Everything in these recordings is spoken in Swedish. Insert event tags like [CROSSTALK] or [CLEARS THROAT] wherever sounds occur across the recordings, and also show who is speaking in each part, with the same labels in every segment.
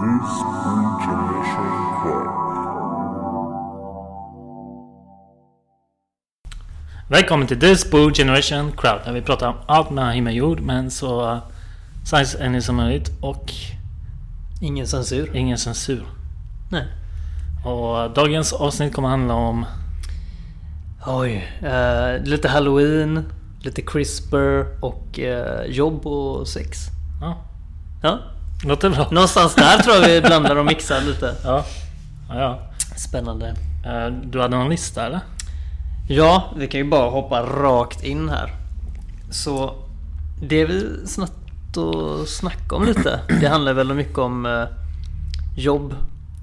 Speaker 1: This Intermission Club.
Speaker 2: Välkommen till This Boo Generation Crowd där vi pratar om allt mellan himmel och jord men så eh, science and som möjligt och
Speaker 3: Ingen censur?
Speaker 2: ingen censur.
Speaker 3: Nej.
Speaker 2: Och eh, dagens avsnitt kommer handla om
Speaker 3: Oj. eh, lite halloween, lite CRISPR och eh, jobb och sex.
Speaker 2: Ja,
Speaker 3: Ja,
Speaker 2: låter bra.
Speaker 3: någonstans där tror jag
Speaker 2: [LAUGHS]
Speaker 3: vi blandar och mixar lite.
Speaker 2: Ja, ja, ja.
Speaker 3: Spännande.
Speaker 2: Eh, Du hade någon lista eller?
Speaker 3: Ja, vi kan ju bara hoppa rakt in här. Så det vi snabbt och snackade om [CLEARS THROAT] lite, det handlar väl mycket om eh, jobb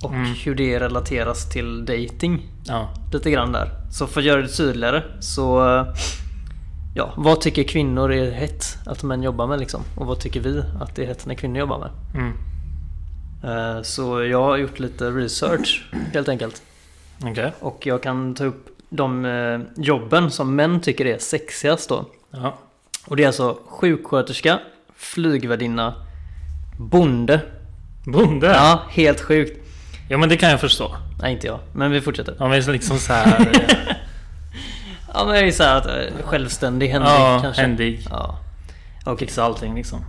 Speaker 3: och
Speaker 2: Mm.
Speaker 3: hur det relateras till dating.
Speaker 2: Ja.
Speaker 3: lite grann där. Så för att göra det tydligare så... eh, Ja, vad tycker kvinnor är hett att män jobbar med liksom? Och vad tycker vi att det är hett när kvinnor jobbar med?
Speaker 2: Mm.
Speaker 3: Eh, Så jag har gjort lite research helt enkelt.
Speaker 2: Okej.
Speaker 3: Och jag kan ta upp de eh, jobben som män tycker är sexigast då.
Speaker 2: Ja.
Speaker 3: Och det är alltså sjuksköterska, flygvärdinna, bonde.
Speaker 2: Bonde? Ja.
Speaker 3: Ja, helt sjukt.
Speaker 2: men det kan jag förstå.
Speaker 3: Nej, inte jag. Men
Speaker 2: [LAUGHS]
Speaker 3: vi fortsätter.
Speaker 2: Om vi är liksom så
Speaker 3: [LAUGHS]
Speaker 2: här, eh,
Speaker 3: Ja, men det är så här att eh, självständig, händig
Speaker 2: Ja,
Speaker 3: kanske.
Speaker 2: händig.
Speaker 3: Ja,
Speaker 2: och fixa allting liksom.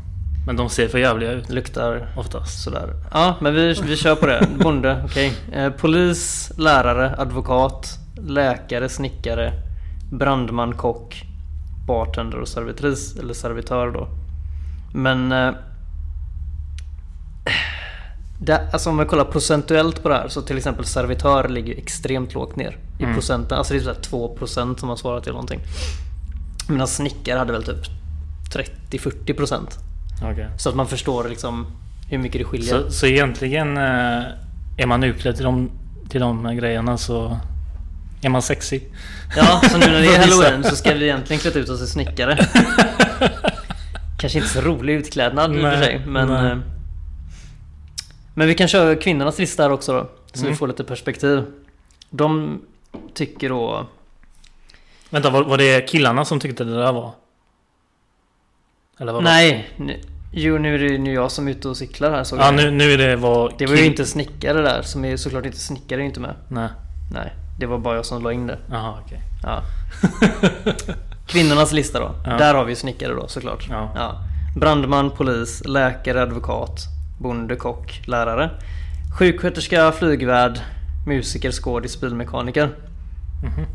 Speaker 2: Men de ser för jävliga ut
Speaker 3: luktar
Speaker 2: oftast.
Speaker 3: Sådär. Ja, men vi, vi kör på det. Bonde, [LAUGHS] okej. Eh, polis, lärare, advokat, läkare, snickare, brandman, kock, bartender och servitris. Eller servitör då. Men... Eh, det, alltså om man kollar procentuellt på det här så till exempel servitör ligger ju extremt lågt ner i
Speaker 2: Mm.
Speaker 3: procenten. Alltså det är typ så här 2% som har svarat till någonting. Medan snickare hade väl typ 30-40%.
Speaker 2: Okej.
Speaker 3: Så att man förstår liksom hur mycket det skiljer.
Speaker 2: Så, så egentligen eh, är man utklädd till de, till de grejerna så är man sexy.
Speaker 3: Ja, så nu när det
Speaker 2: För [LAUGHS]
Speaker 3: är
Speaker 2: vissa.
Speaker 3: halloween så ska vi egentligen klätt ut oss
Speaker 2: [LAUGHS]
Speaker 3: till snickare. Kanske inte så rolig utklädnad i och för
Speaker 2: Nej,
Speaker 3: sig. Men,
Speaker 2: nej.
Speaker 3: eh, men vi kan köra kvinnornas lista här också då. Så
Speaker 2: Mm.
Speaker 3: vi får lite perspektiv. De tycker då...
Speaker 2: [LAUGHS] Vänta, var, var det killarna som tyckte det där var? Eller vad
Speaker 3: Nej! Nu, jo, nu är det ju nu jag som är ute och cyklar här
Speaker 2: var
Speaker 3: såg
Speaker 2: det? Ja,
Speaker 3: jag.
Speaker 2: nu, nu är det vad...
Speaker 3: Det var
Speaker 2: kill-
Speaker 3: ju inte snickare där, som är såklart inte snickare är inte med.
Speaker 2: Nej,
Speaker 3: Nej, det var bara jag som la in det.
Speaker 2: jaha okej.
Speaker 3: [LAUGHS] Ja. Kvinnornas lista då.
Speaker 2: Ja.
Speaker 3: Där har vi snickare då såklart.
Speaker 2: Ja.
Speaker 3: Brandman, polis, läkare, advokat, bonde, kock, lärare. Sjuksköterska, flygvärd, musiker, skådis, bilmekaniker.
Speaker 2: Mhm.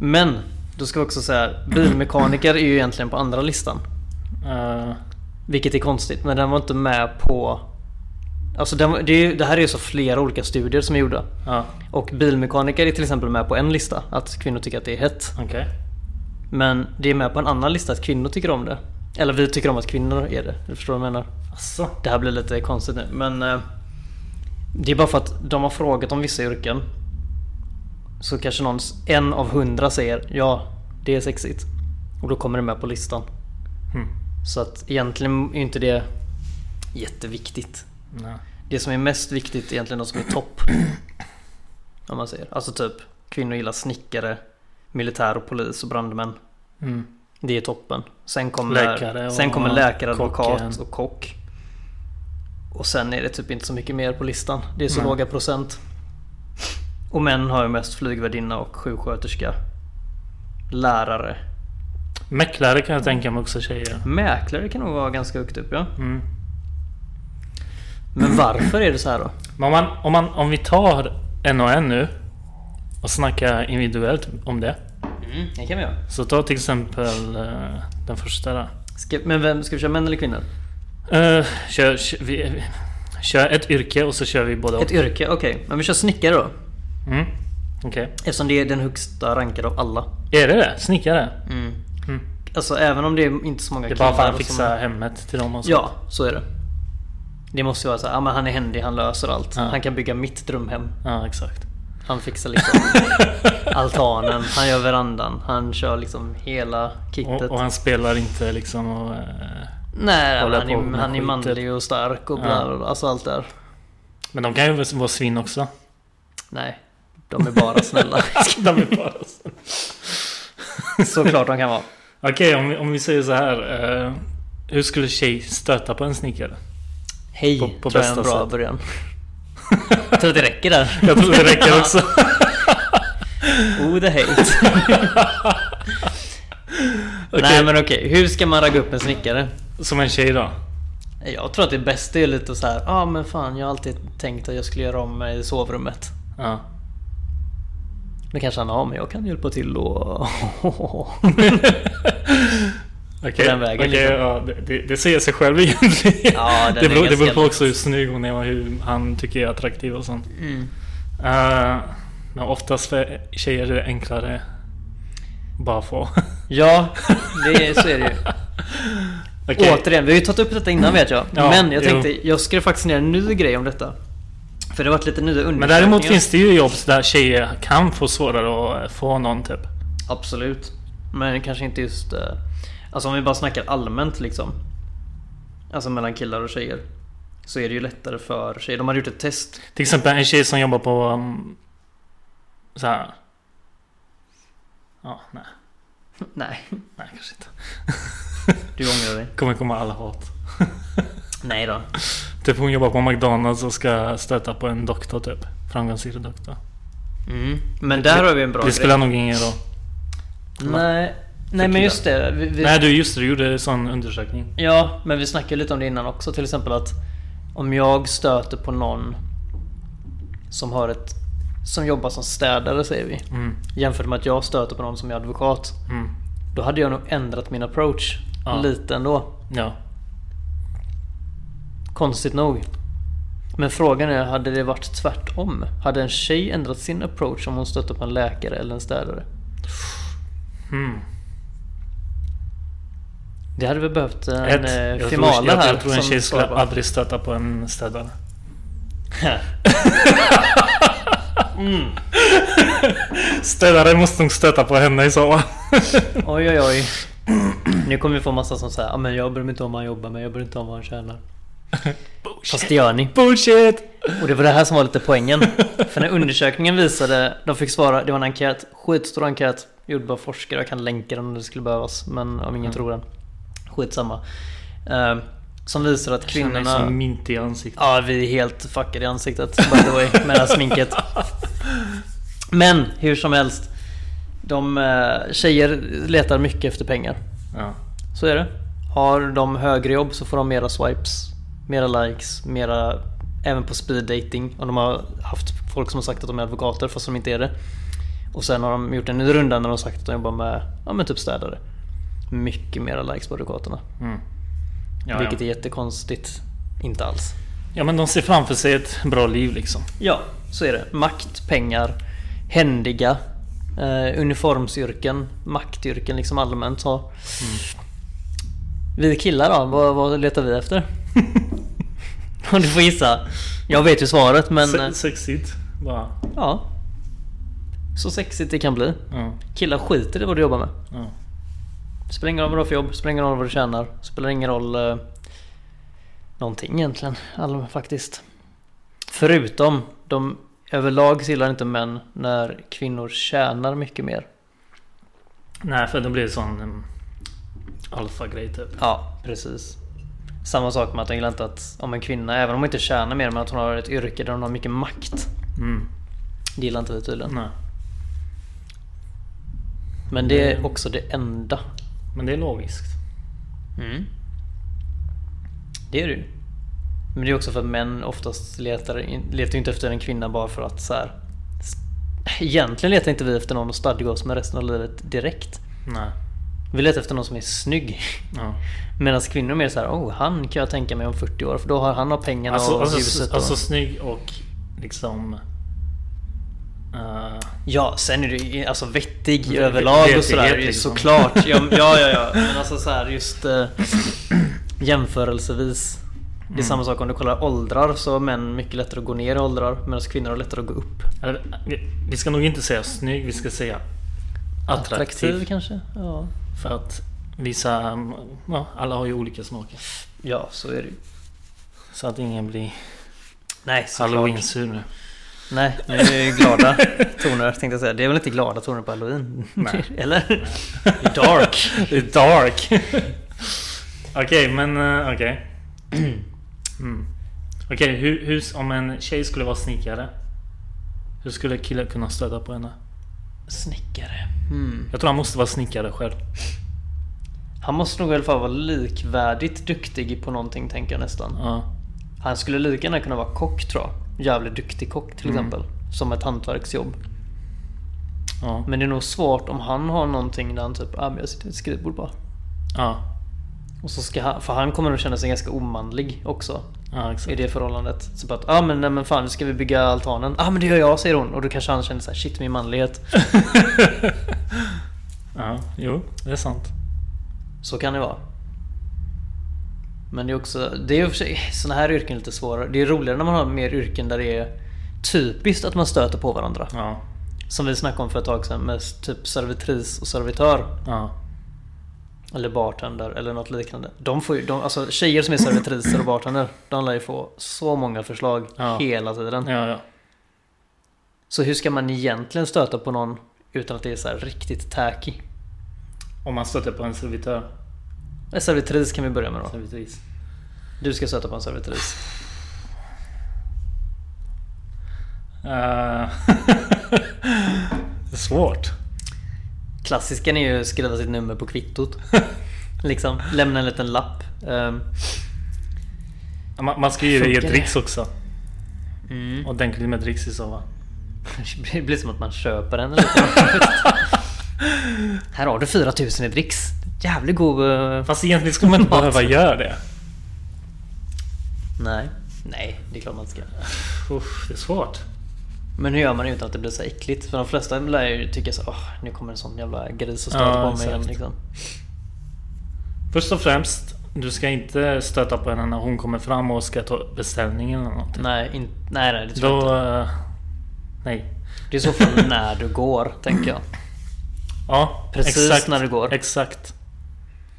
Speaker 3: Men, då ska vi också säga bilmekaniker är ju egentligen på andra listan.
Speaker 2: Eh,
Speaker 3: Vilket är konstigt, men den var inte med på... Alltså den, var- det, är ju, det här är ju så flera olika studier som är gjorda.
Speaker 2: ja,
Speaker 3: Och bilmekaniker är till exempel med på en lista, att kvinnor tycker att det är hett.
Speaker 2: okej.
Speaker 3: Men det är med på en annan lista att kvinnor tycker om det. Eller vi tycker om att kvinnor är det. Du förstår vad jag menar?
Speaker 2: Asså.
Speaker 3: Det här blir lite konstigt nu. Men eh, det är bara för att de har frågat om vissa yrken. Så kanske någon, en av hundra säger ja, det är sexigt. Och då kommer det med på listan.
Speaker 2: Hmm.
Speaker 3: Så att egentligen är inte det jätteviktigt.
Speaker 2: Nej.
Speaker 3: Det som är mest viktigt är egentligen de som är topp. Om man säger. Alltså typ kvinnor gillar snickare, militär och polis och brandmän.
Speaker 2: Mm.
Speaker 3: Det är toppen. Sen kommer
Speaker 2: Läkare
Speaker 3: läkare,
Speaker 2: och
Speaker 3: sen kommer läkare
Speaker 2: kocken.
Speaker 3: advokat och kock. Och sen är det typ inte så mycket mer på listan. Det är så
Speaker 2: Nej.
Speaker 3: låga procent. Och män har ju mest flygvärdinna och sjuksköterska. Lärare.
Speaker 2: Mäklare kan jag tänka mig också tjejer.
Speaker 3: Mäklare kan nog vara ganska högt upp ja.
Speaker 2: Mm.
Speaker 3: Men varför är det så här då?
Speaker 2: Men om, man, om, man, om vi tar en och en nu och snackar individuellt om det.
Speaker 3: Mm, det kan vi göra.
Speaker 2: Så ta till exempel eh, den första där.
Speaker 3: Ska, men vem, ska vi köra män eller kvinnor?
Speaker 2: Eh, kör, kör, vi, kör ett yrke och så kör vi båda
Speaker 3: Ett yrke, okej. Men vi kör snickare då.
Speaker 2: Mm. Okej.
Speaker 3: Eftersom det är den högsta rankade av alla.
Speaker 2: Är det det? Snickare? Mm.
Speaker 3: Alltså även om det är inte så många
Speaker 2: Det är bara för att
Speaker 3: som-
Speaker 2: fixa hemmet till dem och så.
Speaker 3: Ja, så är det. Det måste ju vara så här, ja, men han är händig, han löser allt.
Speaker 2: Ja.
Speaker 3: Han kan bygga mitt drömhem.
Speaker 2: Ja, exakt.
Speaker 3: Han fixar liksom
Speaker 2: [LAUGHS]
Speaker 3: [LAUGHS] altanen, han gör verandan, han kör liksom hela
Speaker 2: Och,
Speaker 3: kittet.
Speaker 2: och han spelar inte liksom och... eh,
Speaker 3: Nej,
Speaker 2: håller
Speaker 3: han
Speaker 2: på
Speaker 3: är,
Speaker 2: med
Speaker 3: han är
Speaker 2: skitet.
Speaker 3: manlig och stark och
Speaker 2: Ja.
Speaker 3: bla, bla, bla, alltså allt där.
Speaker 2: Men de kan ju vara svinn också. [LAUGHS]
Speaker 3: Nej, de är bara snälla.
Speaker 2: de är bara så.
Speaker 3: Såklart de kan vara.
Speaker 2: Okej, om, vi- om vi säger så här. eh, hur skulle tjej stöta på en snickare?
Speaker 3: Hej,
Speaker 2: På- på
Speaker 3: tror jag är en
Speaker 2: bästa
Speaker 3: bra
Speaker 2: sätt.
Speaker 3: början. jag tror att det räcker där.
Speaker 2: Jag tror det räcker också.
Speaker 3: [LAUGHS] Oh, the hate.
Speaker 2: [LAUGHS] Okej,
Speaker 3: Nej men okej, hur ska man ragga upp en snickare?
Speaker 2: Som en tjej då.
Speaker 3: Jag tror att det bästa är lite så här, ja ah, men fan jag har alltid tänkt att jag skulle göra om mig i sovrummet. [LAUGHS]
Speaker 2: Ja.
Speaker 3: Nu kanske han har, men jag kan hjälpa
Speaker 2: [LAUGHS]
Speaker 3: till och...
Speaker 2: Okej,
Speaker 3: den vägen,
Speaker 2: okej,
Speaker 3: liksom.
Speaker 2: ja, det- det, det säger sig själv egentligen.
Speaker 3: Ja, den
Speaker 2: det
Speaker 3: är
Speaker 2: beror, det
Speaker 3: ganska
Speaker 2: beror på
Speaker 3: lätt.
Speaker 2: också hur snygg hon är och hur han tycker är attraktiv och sånt.
Speaker 3: mm.
Speaker 2: Eh, men oftast för tjejer är det enklare att bara få.
Speaker 3: Ja, det är, så är det ju.
Speaker 2: [LAUGHS] Okej.
Speaker 3: Återigen, vi har ju tagit upp detta innan vet jag.
Speaker 2: Ja,
Speaker 3: men jag
Speaker 2: jo.
Speaker 3: tänkte, jag skrev faktiskt ner en ny grej om detta. För det har varit lite nya undersökningar.
Speaker 2: Men däremot finns det ju jobb där tjejer kan få svårare att få någon typ.
Speaker 3: Absolut. Men kanske inte just... eh, Alltså om vi bara snackar allmänt liksom. Alltså mellan killar och tjejer. Så är det ju lättare för tjejer. De har gjort ett test. [LAUGHS]
Speaker 2: Till exempel en tjej som jobbar på... Um, så här. Ja, nej.
Speaker 3: Nej,
Speaker 2: Nej, kanske inte.
Speaker 3: du ångrar dig.
Speaker 2: Kommer komma alla hat.
Speaker 3: Nej då.
Speaker 2: Typ hon jobbar på McDonalds och ska stöta på en doktor typ. Framgångsrik doktor.
Speaker 3: Mm. Men där har vi en bra
Speaker 2: det
Speaker 3: grej.
Speaker 2: spelar nog ingen roll.
Speaker 3: Nej, nej men
Speaker 2: killar.
Speaker 3: just det. Vi, vi,
Speaker 2: Nej du, just det. Du gjorde en sån undersökning.
Speaker 3: Ja, men vi snackade lite om det innan också. Till exempel att om jag stöter på någon som har ett som jobbar som städare säger vi.
Speaker 2: Mm,
Speaker 3: Jämfört med att jag stöter på någon som är advokat.
Speaker 2: mm,
Speaker 3: Då hade jag nog ändrat min approach.
Speaker 2: Ja.
Speaker 3: Lite ändå.
Speaker 2: ja.
Speaker 3: Konstigt nog. Men frågan är, hade det varit tvärtom? Hade en tjej ändrat sin approach om hon stötte på en läkare eller en städare?
Speaker 2: Mm.
Speaker 3: Det hade vi behövt en
Speaker 2: Ett,
Speaker 3: eh,
Speaker 2: jag, tror,
Speaker 3: female
Speaker 2: jag,
Speaker 3: här.
Speaker 2: jag tror en
Speaker 3: som
Speaker 2: tjej skulle
Speaker 3: svarar
Speaker 2: aldrig stöta på en städare.
Speaker 3: [LAUGHS] på- mm.
Speaker 2: Städare måste nog stöta på henne i så fall.
Speaker 3: [LAUGHS] Oj oj oj. Nu kommer vi få massa som säger ah, men jag bryr mig inte om vad han jobbar med, jag bryr mig inte om vad han tjänar. Fast det gör ni.
Speaker 2: Bullshit!
Speaker 3: Och det var det här som var lite poängen. För när undersökningen visade, de fick svara, det var en enkät, skitstor enkät, gjord bara forskare, jag kan länka den om det skulle behövas, men om ingen
Speaker 2: Mm.
Speaker 3: tror den. Skitsamma. Eh, som visar att
Speaker 2: Kvinnorna... Jag känner mig som
Speaker 3: kvinnorna...
Speaker 2: mint i ansiktet.
Speaker 3: Ja, vi är helt fuckade i ansiktet by the way, med det här sminket. Men hur som helst. De, eh, tjejer letar mycket efter pengar.
Speaker 2: Ja.
Speaker 3: Så är det. Har de högre jobb så får de mera swipes, mera likes, mera även på speed dating. Och de har haft folk som har sagt att de är advokater fast de inte är det. Och sen har de gjort en ny runda när de har sagt att de jobbar med, ja men typ städare. Mycket mera likes på advokaterna.
Speaker 2: Mm. Ja,
Speaker 3: vilket
Speaker 2: ja.
Speaker 3: är jättekonstigt. Inte alls.
Speaker 2: ja men de ser framför sig ett bra liv liksom.
Speaker 3: Ja, så är det. Makt, pengar, händiga, eh, uniformsyrken, maktyrken liksom allmänt. Så. Vi killar då, vad, vad letar vi efter? [LAUGHS] Om du får gissa. Jag vet ju svaret men eh,
Speaker 2: Se- sexigt. Bara.
Speaker 3: ja. Så sexigt det kan bli.
Speaker 2: Ja,
Speaker 3: Killar skiter i vad du jobbar med.
Speaker 2: ja.
Speaker 3: Spelar ingen roll vad du har för jobb, spelar ingen roll vad du tjänar, spelar ingen roll eh, någonting egentligen. All, faktiskt. Förutom, de överlag gillar inte män när kvinnor tjänar mycket mer.
Speaker 2: Nej för det blir en sån um, alfa-grej typ.
Speaker 3: Ja, precis. Samma sak med att de gillar inte att om en kvinna, även om hon inte tjänar mer, men att hon har ett yrke där hon har mycket makt.
Speaker 2: Mm.
Speaker 3: Det gillar inte vi tydligen.
Speaker 2: Nej.
Speaker 3: Men det är också det enda.
Speaker 2: Men det är logiskt. Mm.
Speaker 3: Det är det ju. Men det är också för att män oftast letar, in- letar ju inte efter en kvinna bara för att så här. Egentligen letar inte vi efter någon att stadga oss med resten av livet direkt.
Speaker 2: Nej.
Speaker 3: Vi letar efter någon som är snygg.
Speaker 2: Ja.
Speaker 3: Medan kvinnor är mer så här, oh han kan jag tänka mig om 40 år för då har han har pengarna
Speaker 2: Alltså,
Speaker 3: och
Speaker 2: alltså,
Speaker 3: huset.
Speaker 2: s-
Speaker 3: Och...
Speaker 2: alltså snygg och liksom... eh,
Speaker 3: Ja, sen är det ju alltså vettig
Speaker 2: Ve-
Speaker 3: överlag och
Speaker 2: vetighet
Speaker 3: sådär ju
Speaker 2: Mm. liksom.
Speaker 3: såklart.
Speaker 2: [LAUGHS]
Speaker 3: Ja, ja, ja, ja. Men alltså så här just eh, jämförelsevis. Det är
Speaker 2: Mm.
Speaker 3: samma sak om du kollar åldrar så har män mycket lättare att gå ner i åldrar medan kvinnor har lättare att gå upp.
Speaker 2: eller, vi- vi ska nog inte säga snygg, vi ska säga attraktiv.
Speaker 3: kanske? Ja.
Speaker 2: För att visa... um, Ja, alla har ju olika smaker.
Speaker 3: ja, så är det ju.
Speaker 2: Så att ingen blir
Speaker 3: Nej, såklart.
Speaker 2: halloween-sur nu.
Speaker 3: Nej, nu är det ju
Speaker 2: [LAUGHS]
Speaker 3: glada toner tänkte jag säga. Det är väl inte glada toner på halloween?
Speaker 2: Nej.
Speaker 3: [LAUGHS] Eller? Det är [LAUGHS] Dark.
Speaker 2: Det är [LAUGHS] dark. okej, men eh, okej. Mm. Okej, hur, hur, om en tjej skulle vara snickare. Hur skulle killar kunna stöta på henne? Snickare.
Speaker 3: Hmm.
Speaker 2: Jag tror han måste vara snickare själv.
Speaker 3: Han måste nog i alla fall vara likvärdigt duktig på någonting tänker jag nästan.
Speaker 2: Ja.
Speaker 3: Han skulle lika gärna kunna vara kock tror jag. Jävligt duktig kock till
Speaker 2: Mm.
Speaker 3: exempel. Som ett hantverksjobb.
Speaker 2: Ja.
Speaker 3: Men det är nog svårt om han har någonting där han typ, ah, men jag sitter vid ett skrivbord bara.
Speaker 2: Ja.
Speaker 3: Och så ska han, för han kommer nog känna sig ganska omanlig också.
Speaker 2: Ja, exakt.
Speaker 3: I det förhållandet. Så bara att, ah, men, nej, men fan nu ska vi bygga altanen. Ja ah, men det gör jag säger hon. Och då kanske han känner såhär, shit
Speaker 2: [LAUGHS]
Speaker 3: min manlighet.
Speaker 2: [LAUGHS] ja, jo, det är sant.
Speaker 3: Så kan det vara. Men det är också, det är ju i och för sig, sådana här yrken är lite svårare. Det är roligare när man har mer yrken där det är typiskt att man stöter på varandra.
Speaker 2: Ja.
Speaker 3: Som vi snackade om för ett tag sedan med typ servitris och servitör.
Speaker 2: Ja.
Speaker 3: Eller bartender eller något liknande. De får ju, de, alltså tjejer som är servitriser och bartender, de lär ju få så många förslag
Speaker 2: Ja.
Speaker 3: hela tiden.
Speaker 2: Ja, ja.
Speaker 3: Så hur ska man egentligen stöta på någon utan att det är så här riktigt tacky?
Speaker 2: Om man stöter på en servitör.
Speaker 3: En servitris kan vi börja med då.
Speaker 2: Servitris.
Speaker 3: Du ska stöta på en servitris.
Speaker 2: Eh, [LAUGHS] det är svårt. [LAUGHS]
Speaker 3: Klassiken är ju att skriva sitt nummer
Speaker 2: [LAUGHS]
Speaker 3: på kvittot. liksom, lämna en liten lapp. Ehm,
Speaker 2: Man, man skriver ju
Speaker 3: Funkar det?
Speaker 2: dricks också.
Speaker 3: mm.
Speaker 2: Ordentligt med dricks i så fall.
Speaker 3: [LAUGHS] Det blir som att man köper den eller något. Här har du 4000 i dricks. Jävligt god... eh,
Speaker 2: Fast egentligen skulle man inte
Speaker 3: Mat.
Speaker 2: behöva göra det.
Speaker 3: Nej. Nej, det är klart man inte ska.
Speaker 2: Uff, det är svårt.
Speaker 3: Men hur gör man utan att det blir så äckligt? För de flesta lär ju tycka så åh nu kommer en sån jävla gris och stöter
Speaker 2: Ja,
Speaker 3: på mig igen
Speaker 2: exakt.
Speaker 3: liksom.
Speaker 2: Först och främst, du ska inte stöta på henne när hon kommer fram och ska ta beställningen eller någonting.
Speaker 3: Nej, in, nej, nej det tror jag
Speaker 2: Då...
Speaker 3: inte.
Speaker 2: eh, nej.
Speaker 3: Det är i så fall [LAUGHS] när du går, tänker jag.
Speaker 2: Ja,
Speaker 3: Precis
Speaker 2: exakt,
Speaker 3: när du går.
Speaker 2: Exakt.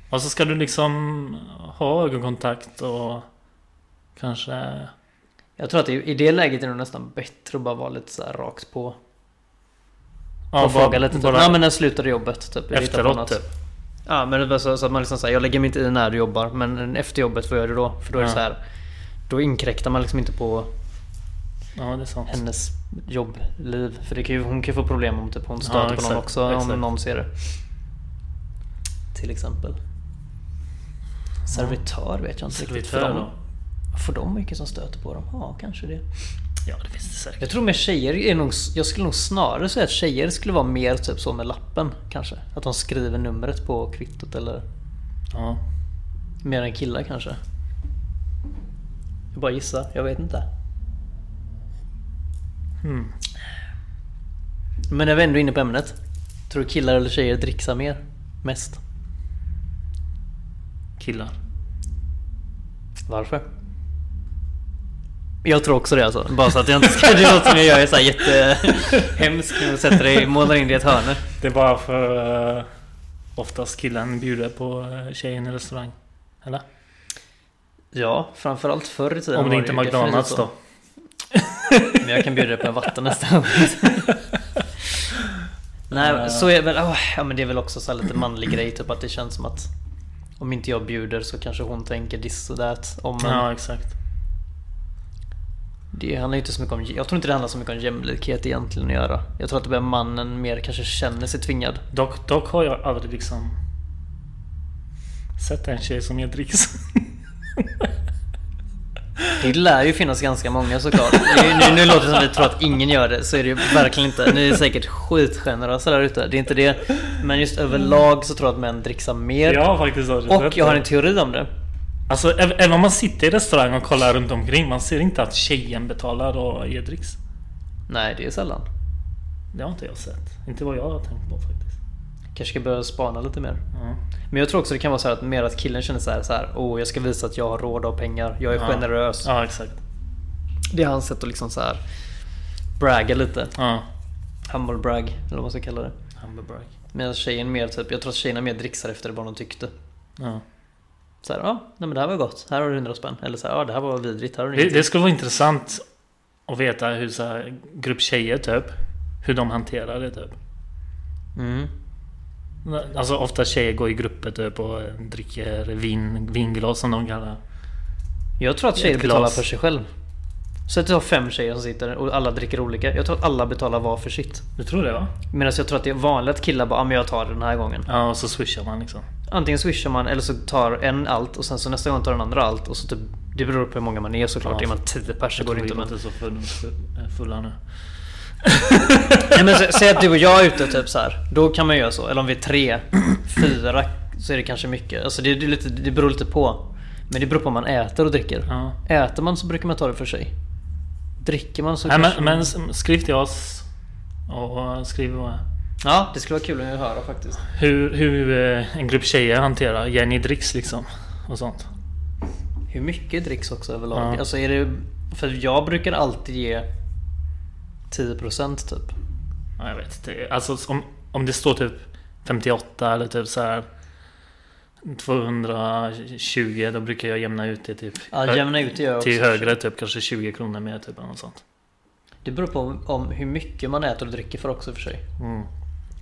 Speaker 2: Och så ska du liksom ha ögonkontakt och kanske...
Speaker 3: Jag tror att i, i det läget är det nästan bättre att bara vara lite så här rakt på.
Speaker 2: Ja,
Speaker 3: och fråga lite typ,
Speaker 2: bara
Speaker 3: nej men när slutade du jobbet? Typ, Jag hittar på
Speaker 2: efteråt
Speaker 3: något."
Speaker 2: typ.
Speaker 3: Ja men det är bara så, så att man liksom säger jag lägger mig inte i när du jobbar men efter jobbet vad gör du då? För då är det
Speaker 2: Ja.
Speaker 3: så här. Då inkräktar man liksom inte på
Speaker 2: Ja, det är sant.
Speaker 3: hennes jobbliv. För det kan ju, hon kan ju få problem om typ hon stöter
Speaker 2: Ja,
Speaker 3: på
Speaker 2: exakt,
Speaker 3: någon också
Speaker 2: exakt.
Speaker 3: om någon ser det. Till exempel. Servitör vet jag inte riktigt. För
Speaker 2: Servitör
Speaker 3: de-
Speaker 2: då?
Speaker 3: Får de mycket som stöter på dem? Ja, kanske det.
Speaker 2: Ja, det finns det säkert.
Speaker 3: Jag tror med tjejer är nog... Jag skulle nog snarare säga att tjejer skulle vara mer typ så med lappen kanske. Att de skriver numret på kvittot eller
Speaker 2: Ja.
Speaker 3: mer än killar kanske. Jag bara gissar, jag vet inte.
Speaker 2: Hmm.
Speaker 3: Men när vi ändå är inne på ämnet. Tror du killar eller tjejer dricksar mer? Mest?
Speaker 2: Killar.
Speaker 3: Varför? Jag tror också det alltså. Bara så
Speaker 2: [LAUGHS]
Speaker 3: att jag inte ska... [LAUGHS] Det låter som jag gör är så här [LAUGHS] jättehemsk och sätter dig, målar in dig i ett hörn.
Speaker 2: Det är bara för... eh, oftast killen bjuder på eh, tjejen i restaurang. Eller?
Speaker 3: Ja, framförallt förr i tiden
Speaker 2: Om det
Speaker 3: var
Speaker 2: inte är
Speaker 3: ju definitivt
Speaker 2: McDonalds
Speaker 3: så.
Speaker 2: då.
Speaker 3: Men jag kan bjuda dig på en vatten nästa
Speaker 2: [LAUGHS]
Speaker 3: gång.
Speaker 2: Eh.
Speaker 3: Nej, så är väl... åh, ja, men det är väl också så här lite manlig grej. Typ att det känns som att om inte jag bjuder så kanske hon tänker this och that. Om en,
Speaker 2: Ja, exakt.
Speaker 3: Det handlar ju inte så mycket om... Jag tror inte det handlar så mycket om jämlikhet egentligen att göra. Jag tror att det blir mannen mer kanske känner sig tvingad.
Speaker 2: Dock, dock har jag aldrig liksom sett en tjej som ger dricks. [LAUGHS]
Speaker 3: Det lär ju finnas ganska
Speaker 2: [LAUGHS]
Speaker 3: många såklart. Nu, nu, nu låter det som att vi tror att ingen gör det, så är det ju verkligen inte. Ni är säkert skitgenerösa där ute, det är inte det. Men just överlag så tror jag att män dricksar mer.
Speaker 2: Jag har faktiskt aldrig
Speaker 3: och
Speaker 2: sett
Speaker 3: jag har
Speaker 2: det.
Speaker 3: en teori om det.
Speaker 2: Alltså ä- även om man sitter i restaurang och kollar runt omkring Man ser inte att tjejen betalar och ger dricks.
Speaker 3: Nej, det är sällan.
Speaker 2: Det har inte jag sett. Inte vad jag har tänkt på faktiskt.
Speaker 3: Kanske ska börja spana lite mer.
Speaker 2: Ja.
Speaker 3: Men jag tror också det kan vara så här att mer att killen känner så här, så här Åh, jag ska visa att jag har råd och pengar. Jag är
Speaker 2: Ja.
Speaker 3: generös.
Speaker 2: Ja exakt.
Speaker 3: Det är hans sätt att liksom så här bragga lite.
Speaker 2: Ja.
Speaker 3: Humble brag, eller vad man ska kalla det.
Speaker 2: Hamburg.
Speaker 3: Medan tjejen mer typ, jag tror att tjejerna mer dricksar efter vad de tyckte.
Speaker 2: Ja.
Speaker 3: Så här, ja, nej men det här var gott. Här har du 100 spänn. Eller så här, ja det här var vidrigt. Här har du
Speaker 2: Det,
Speaker 3: ingenting.
Speaker 2: det skulle vara intressant att veta hur så här, grupp tjejer typ, hur de hanterar det typ.
Speaker 3: Mm.
Speaker 2: Alltså ofta tjejer går i grupper typ och dricker vin, vinglas som de kallar
Speaker 3: Jag tror att tjejer
Speaker 2: Ett
Speaker 3: betalar
Speaker 2: glas.
Speaker 3: för sig själv. Så att jag har fem tjejer som sitter och alla dricker olika. Jag tror att alla betalar var för sitt.
Speaker 2: Du tror det va?
Speaker 3: Medan jag tror att det är vanligt att killar bara ah, men jag tar det den här gången.
Speaker 2: Ja, och så swishar man liksom.
Speaker 3: Antingen swishar man eller så tar en allt och sen så nästa gång tar den andra allt. Och så typ, det beror på hur många man är såklart.
Speaker 2: Ja.
Speaker 3: Är man tio pers så
Speaker 2: Jag tror
Speaker 3: går det
Speaker 2: vi
Speaker 3: inte. Men...
Speaker 2: låter så full- eh, fulla nu.
Speaker 3: Nej, men sä- säg att du och jag är ute typ så här. Då kan man göra så. Eller om vi är tre, fyra så är det kanske mycket. Alltså det, det, är lite, det beror lite på. Men det beror på om man äter och dricker.
Speaker 2: Ja.
Speaker 3: Äter man så brukar man ta det för sig. Dricker man så
Speaker 2: Nej,
Speaker 3: kanske...
Speaker 2: men, men s- skriv till oss och skriv vad-
Speaker 3: Ja, det skulle vara kul att höra faktiskt.
Speaker 2: hur, hur eh, en grupp tjejer hanterar Jenny dricks liksom. Och sånt.
Speaker 3: Hur mycket dricks också överlag?
Speaker 2: Ja.
Speaker 3: Alltså är det... För jag brukar alltid ge 10% typ.
Speaker 2: Ja, jag vet inte. Alltså om, om det står typ 58 eller typ så här 220 då brukar jag jämna ut det typ.
Speaker 3: Ja, jämna ut det gör jag också.
Speaker 2: till högre typ kanske 20 kronor mer typ eller något sånt.
Speaker 3: Det beror på om, om hur mycket man äter och dricker för också för sig.
Speaker 2: Mm.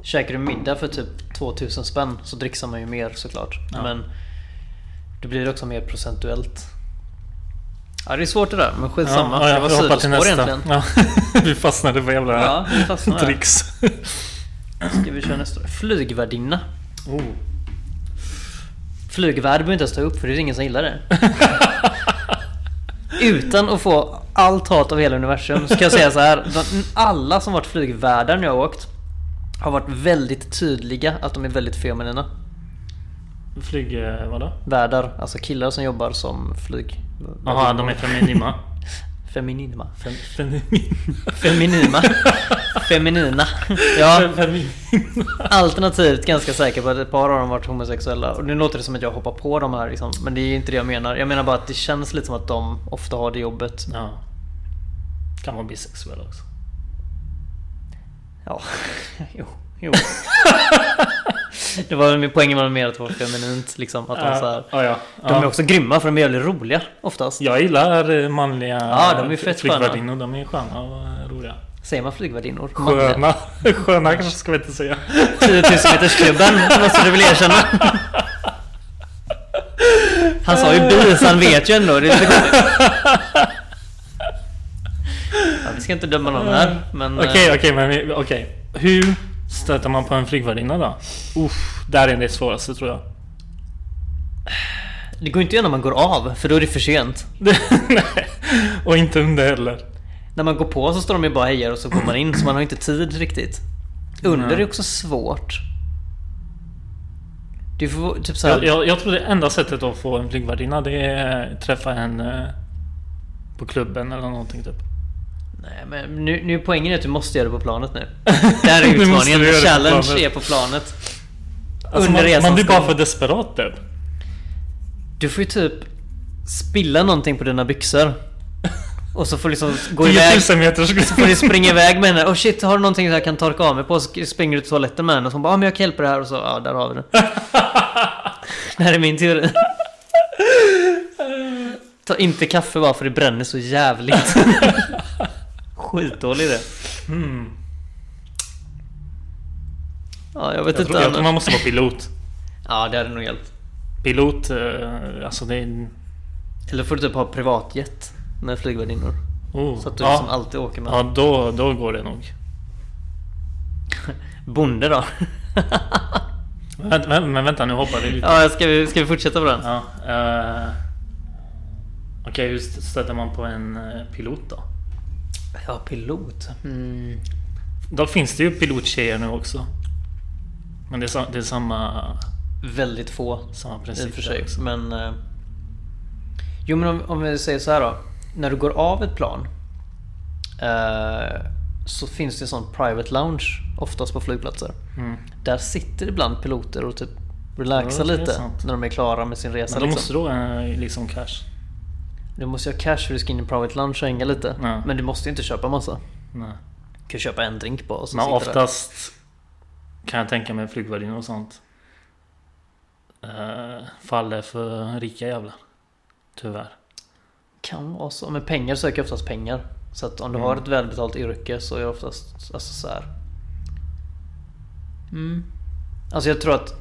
Speaker 3: Käkar du middag för typ 2000 spänn så dricksar man ju mer såklart.
Speaker 2: Ja.
Speaker 3: Men det blir också mer procentuellt. Ja det är svårt det där men skitsamma.
Speaker 2: Ja, ja,
Speaker 3: det var
Speaker 2: vi hoppar till
Speaker 3: sidospår
Speaker 2: nästa.
Speaker 3: egentligen.
Speaker 2: Ja, [LAUGHS] vi fastnade på jävla
Speaker 3: Ja, vi fastnar där.
Speaker 2: dricks.
Speaker 3: Ska vi köra nästa? Flygvärdinna.
Speaker 2: Oh.
Speaker 3: Flygvärd behöver inte ens ta upp för det är ingen som gillar det. Utan att få allt hat av hela universum så kan jag säga så här. De, alla som varit flygvärdar när jag har åkt har varit väldigt tydliga att de är väldigt feminina.
Speaker 2: [LAUGHS] Flyg... eh, Vadå?
Speaker 3: Värdar, alltså killar som jobbar som flyg...
Speaker 2: Jaha, de är feminima.
Speaker 3: [LAUGHS] Feminima.
Speaker 2: Fem, feminima.
Speaker 3: [LAUGHS] Feminima.
Speaker 2: [LAUGHS]
Speaker 3: Feminina. Ja,
Speaker 2: Fem, feminima.
Speaker 3: alternativt ganska säker på att ett par av dem varit homosexuella. Och nu låter det som att jag hoppar på dem här liksom. Men det är inte det jag menar. Jag menar bara att det känns lite som att de ofta har det jobbet.
Speaker 2: Ja. Kan vara bisexuell också.
Speaker 3: Ja, [LAUGHS] jo. jo. det var min poäng var mer att det var feminint liksom. Att de, så här,
Speaker 2: Ja, ja, ja.
Speaker 3: de är också grymma för de är jävligt roliga oftast.
Speaker 2: Jag gillar eh, manliga
Speaker 3: Ja, de är fett sköna.
Speaker 2: flygvärdinnor. De är sköna och eh, roliga.
Speaker 3: Säger man flygvärdinnor? Manliga.
Speaker 2: Sköna. [LAUGHS] Sköna kanske ska vi inte säga.
Speaker 3: 10 000 metersklubben måste du väl erkänna? Han sa ju bi så han vet ju ändå. Det är lite konstigt. ja, vi ska inte döma någon här. Men, eh,
Speaker 2: Okej, okej, men vi- okej. Hur stöter man på en flygvärdinna då? Uff, där är det svåraste tror jag. [LAUGHS]
Speaker 3: Det går inte igen när man går av för då är det för sent.
Speaker 2: Nej, och inte under heller.
Speaker 3: När man går på så står de ju bara och hejar och så går man in så man har inte tid riktigt. Under är också svårt. Du får typ så
Speaker 2: Jag,
Speaker 3: här,
Speaker 2: jag, jag tror det enda sättet att få en flygvärdinna det är att träffa en eh, på klubben eller någonting typ.
Speaker 3: Nej men nu, nu är poängen är att du måste göra det på planet
Speaker 2: [LAUGHS]
Speaker 3: nu. Där är
Speaker 2: Nu måste
Speaker 3: utmaningen.
Speaker 2: du göra det på
Speaker 3: Challenge
Speaker 2: planet.
Speaker 3: är på planet.
Speaker 2: Alltså, man,
Speaker 3: Under resans
Speaker 2: man blir bara
Speaker 3: gång.
Speaker 2: för desperat typ.
Speaker 3: Du får ju typ spilla någonting på dina byxor. Och så får du liksom gå iväg.
Speaker 2: 10 000 meters
Speaker 3: Får du springa iväg med henne. Oh shit, har du någonting som jag kan torka av mig på? Så springer du till toaletten med henne och så hon bara ah, men jag kan hjälpa dig här och så ja, där har vi det. [LAUGHS] det här är min teori. Ta inte kaffe bara för det bränner så jävligt. [LAUGHS] Skitdålig idé. Hmm.
Speaker 2: Mm.
Speaker 3: Ja, jag vet
Speaker 2: Jag,
Speaker 3: inte.
Speaker 2: tror, jag tror
Speaker 3: Anna.
Speaker 2: man måste vara pilot.
Speaker 3: Ja, det hade nog hjälpt.
Speaker 2: Pilot, eh, alltså det är...
Speaker 3: Eller får du typ ha privatjet med flygvärdinnor.
Speaker 2: Oh.
Speaker 3: Så att du
Speaker 2: ja,
Speaker 3: liksom alltid åker med.
Speaker 2: ja då, då går det nog.
Speaker 3: Bonde [LAUGHS] då?
Speaker 2: Vänt, vä- men vänta nu hoppar det lite.
Speaker 3: ja, ska vi, ska vi fortsätta på den?
Speaker 2: Ja, eh, Okej, hur st- stöter man på en eh, pilot då?
Speaker 3: Ja, pilot. Mm.
Speaker 2: Då finns det ju pilottjejer nu också. Men det är, sa- det är samma,
Speaker 3: Väldigt få
Speaker 2: samma
Speaker 3: i
Speaker 2: princip.
Speaker 3: och för
Speaker 2: där
Speaker 3: sig.
Speaker 2: också.
Speaker 3: Men... eh, Jo men om, om vi säger så här då. När du går av ett plan. eh, så finns det en sån private lounge oftast på flygplatser.
Speaker 2: Mm.
Speaker 3: Där sitter ibland piloter och typ relaxar
Speaker 2: Ja, det är
Speaker 3: lite
Speaker 2: sant.
Speaker 3: när de är klara med sin resa.
Speaker 2: Men då
Speaker 3: liksom.
Speaker 2: måste du ha eh, liksom cash.
Speaker 3: Du måste ju ha cash för du ska in i private lounge och hänga lite.
Speaker 2: Ja.
Speaker 3: Men du måste ju inte köpa massa.
Speaker 2: Nej.
Speaker 3: Du kan ju köpa en drink bara och så
Speaker 2: Men
Speaker 3: sitta där.
Speaker 2: oftast kan jag tänka mig flygvärdinnor och sånt. eh, faller för rika jävlar. Tyvärr.
Speaker 3: Kan vara så. Men pengar söker oftast pengar. Så att om du
Speaker 2: Mm.
Speaker 3: har ett välbetalt yrke så är det oftast alltså så här. Mm. Alltså jag tror att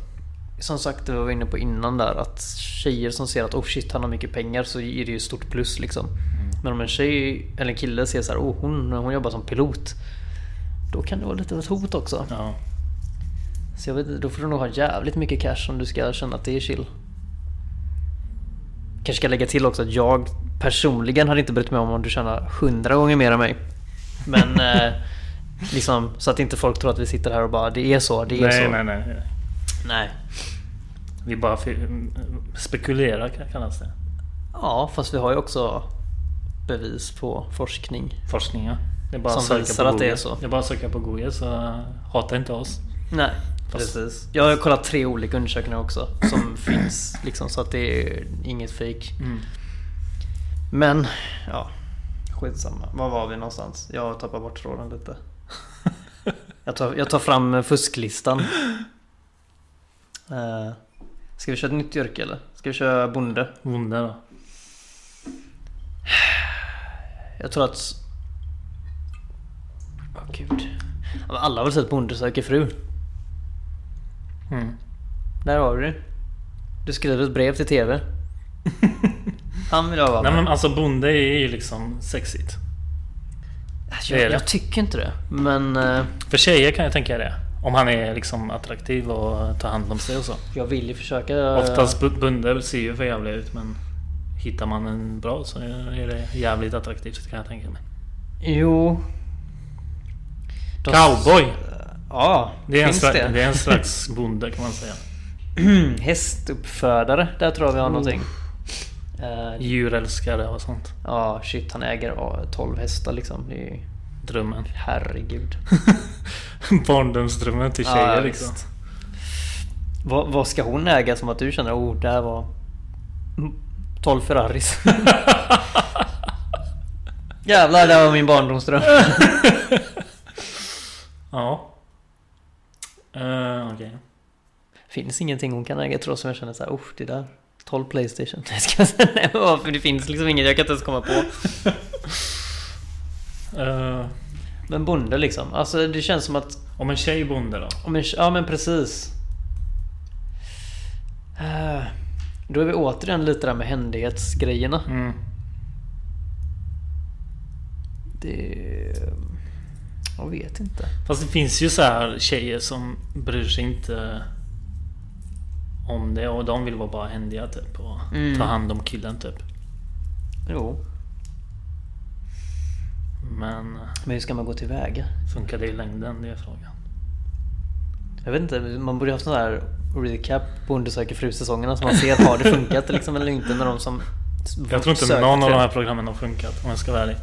Speaker 3: som sagt det var vi inne
Speaker 2: Mm.
Speaker 3: på innan där att tjejer som ser att oh shit han har mycket pengar så är det ju stort plus liksom. Men om en tjej eller en kille ser så här, oh, hon, hon jobbar som pilot. Då kan det vara lite av ett hot också.
Speaker 2: Ja.
Speaker 3: Så jag vet, inte, då får du nog ha jävligt mycket cash om du ska känna att det är chill. Kanske ska lägga till också att jag personligen hade inte brytt mig om om du tjänar hundra gånger mer än mig.
Speaker 2: [LAUGHS]
Speaker 3: Men eh, liksom så att inte folk tror att vi sitter här och bara det är så, det är
Speaker 2: Nej,
Speaker 3: så.
Speaker 2: nej, nej, nej.
Speaker 3: nej.
Speaker 2: Vi bara fi- spekulerar kan- kallas det.
Speaker 3: Ja, fast vi har ju också bevis på forskning.
Speaker 2: Forskning ja. Det är bara
Speaker 3: Som
Speaker 2: att söka
Speaker 3: visar
Speaker 2: på
Speaker 3: att det
Speaker 2: Google.
Speaker 3: är så.
Speaker 2: Det är bara att söka på Google så eh, hata inte oss.
Speaker 3: Nej,
Speaker 2: Fast-
Speaker 3: precis. Jag har kollat tre olika undersökningar också
Speaker 2: [CLEARS THROAT]
Speaker 3: som finns liksom så att det är inget fake.
Speaker 2: Mm.
Speaker 3: Men, ja. Skitsamma. Var var vi någonstans? Jag tappar bort tråden lite.
Speaker 2: [LAUGHS]
Speaker 3: Jag tar, jag tar fram fusklistan. Uh, ska vi köra ett nytt yrke eller? Ska vi köra bonde?
Speaker 2: Bonde då.
Speaker 3: Jag tror att... Åh gud. Ja, men Alla har väl sett Bonde söker fru?
Speaker 2: Mm.
Speaker 3: Där har du det. Du skriver ett brev
Speaker 2: [LAUGHS]
Speaker 3: till TV. Han vill jag vara
Speaker 2: Nej
Speaker 3: med.
Speaker 2: men alltså bonde är ju liksom sexigt.
Speaker 3: Alltså,
Speaker 2: det är
Speaker 3: jag,
Speaker 2: det.
Speaker 3: jag tycker inte det. Men eh,
Speaker 2: För tjejer kan jag tänka det. Om han är liksom attraktiv och tar hand om sig och så.
Speaker 3: jag vill ju försöka... eh,
Speaker 2: Oftast bu- bunder ser ju för jävla ut men hittar man en bra så är det jävligt attraktivt kan jag tänka mig.
Speaker 3: Jo. De-
Speaker 2: Cowboy!
Speaker 3: Ja,
Speaker 2: Det är, en
Speaker 3: finns
Speaker 2: slags,
Speaker 3: det?
Speaker 2: det?
Speaker 3: [LAUGHS]
Speaker 2: är en slags bonde kan man säga.
Speaker 3: [CLEARS THROAT] Hästuppfödare, där tror jag vi har
Speaker 2: Oh.
Speaker 3: någonting. Eh,
Speaker 2: Djurälskare och sånt.
Speaker 3: Ja, shit han äger ja, 12 hästar liksom. Det är ju...
Speaker 2: Drömmen.
Speaker 3: Herregud.
Speaker 2: [LAUGHS] Barndomsdrömmen till
Speaker 3: Ja,
Speaker 2: tjejer
Speaker 3: ja,
Speaker 2: liksom.
Speaker 3: visst. Vad, vad ska hon äga som att du känner oh, det här var 12
Speaker 2: [LAUGHS]
Speaker 3: Ferraris? [LAUGHS] Jävlar, det här var min barndomsdröm.
Speaker 2: [LAUGHS] Ja. Uh, Okej.
Speaker 3: finns ingenting hon kan äga tror jag som jag känner så här, oh, det där. 12 Playstation. [LAUGHS] Nej, ska jag säga, nej, vad, för det finns liksom inget jag kan inte ens komma på.
Speaker 2: Eh,
Speaker 3: Men bonde liksom. Alltså det känns som att
Speaker 2: om en tjej är bonde då?
Speaker 3: Om en, ja men precis. Eh, Då är vi återigen lite där med händighetsgrejerna.
Speaker 2: Mm.
Speaker 3: Det... Jag vet inte.
Speaker 2: Fast det finns ju så här tjejer som bryr sig inte om det och de vill vara bara händiga typ och
Speaker 3: Mm.
Speaker 2: ta hand om killen typ.
Speaker 3: Jo.
Speaker 2: Men eh,
Speaker 3: Men hur ska man gå tillväga?
Speaker 2: funkar det i längden? Det är frågan.
Speaker 3: Jag vet inte, man borde haft sån här recap på Bonde söker fru-säsongerna så man ser, har det funkat liksom eller inte med de som
Speaker 2: Jag tror inte
Speaker 3: söker
Speaker 2: någon av
Speaker 3: till-
Speaker 2: de här programmen har funkat om jag ska vara ärlig.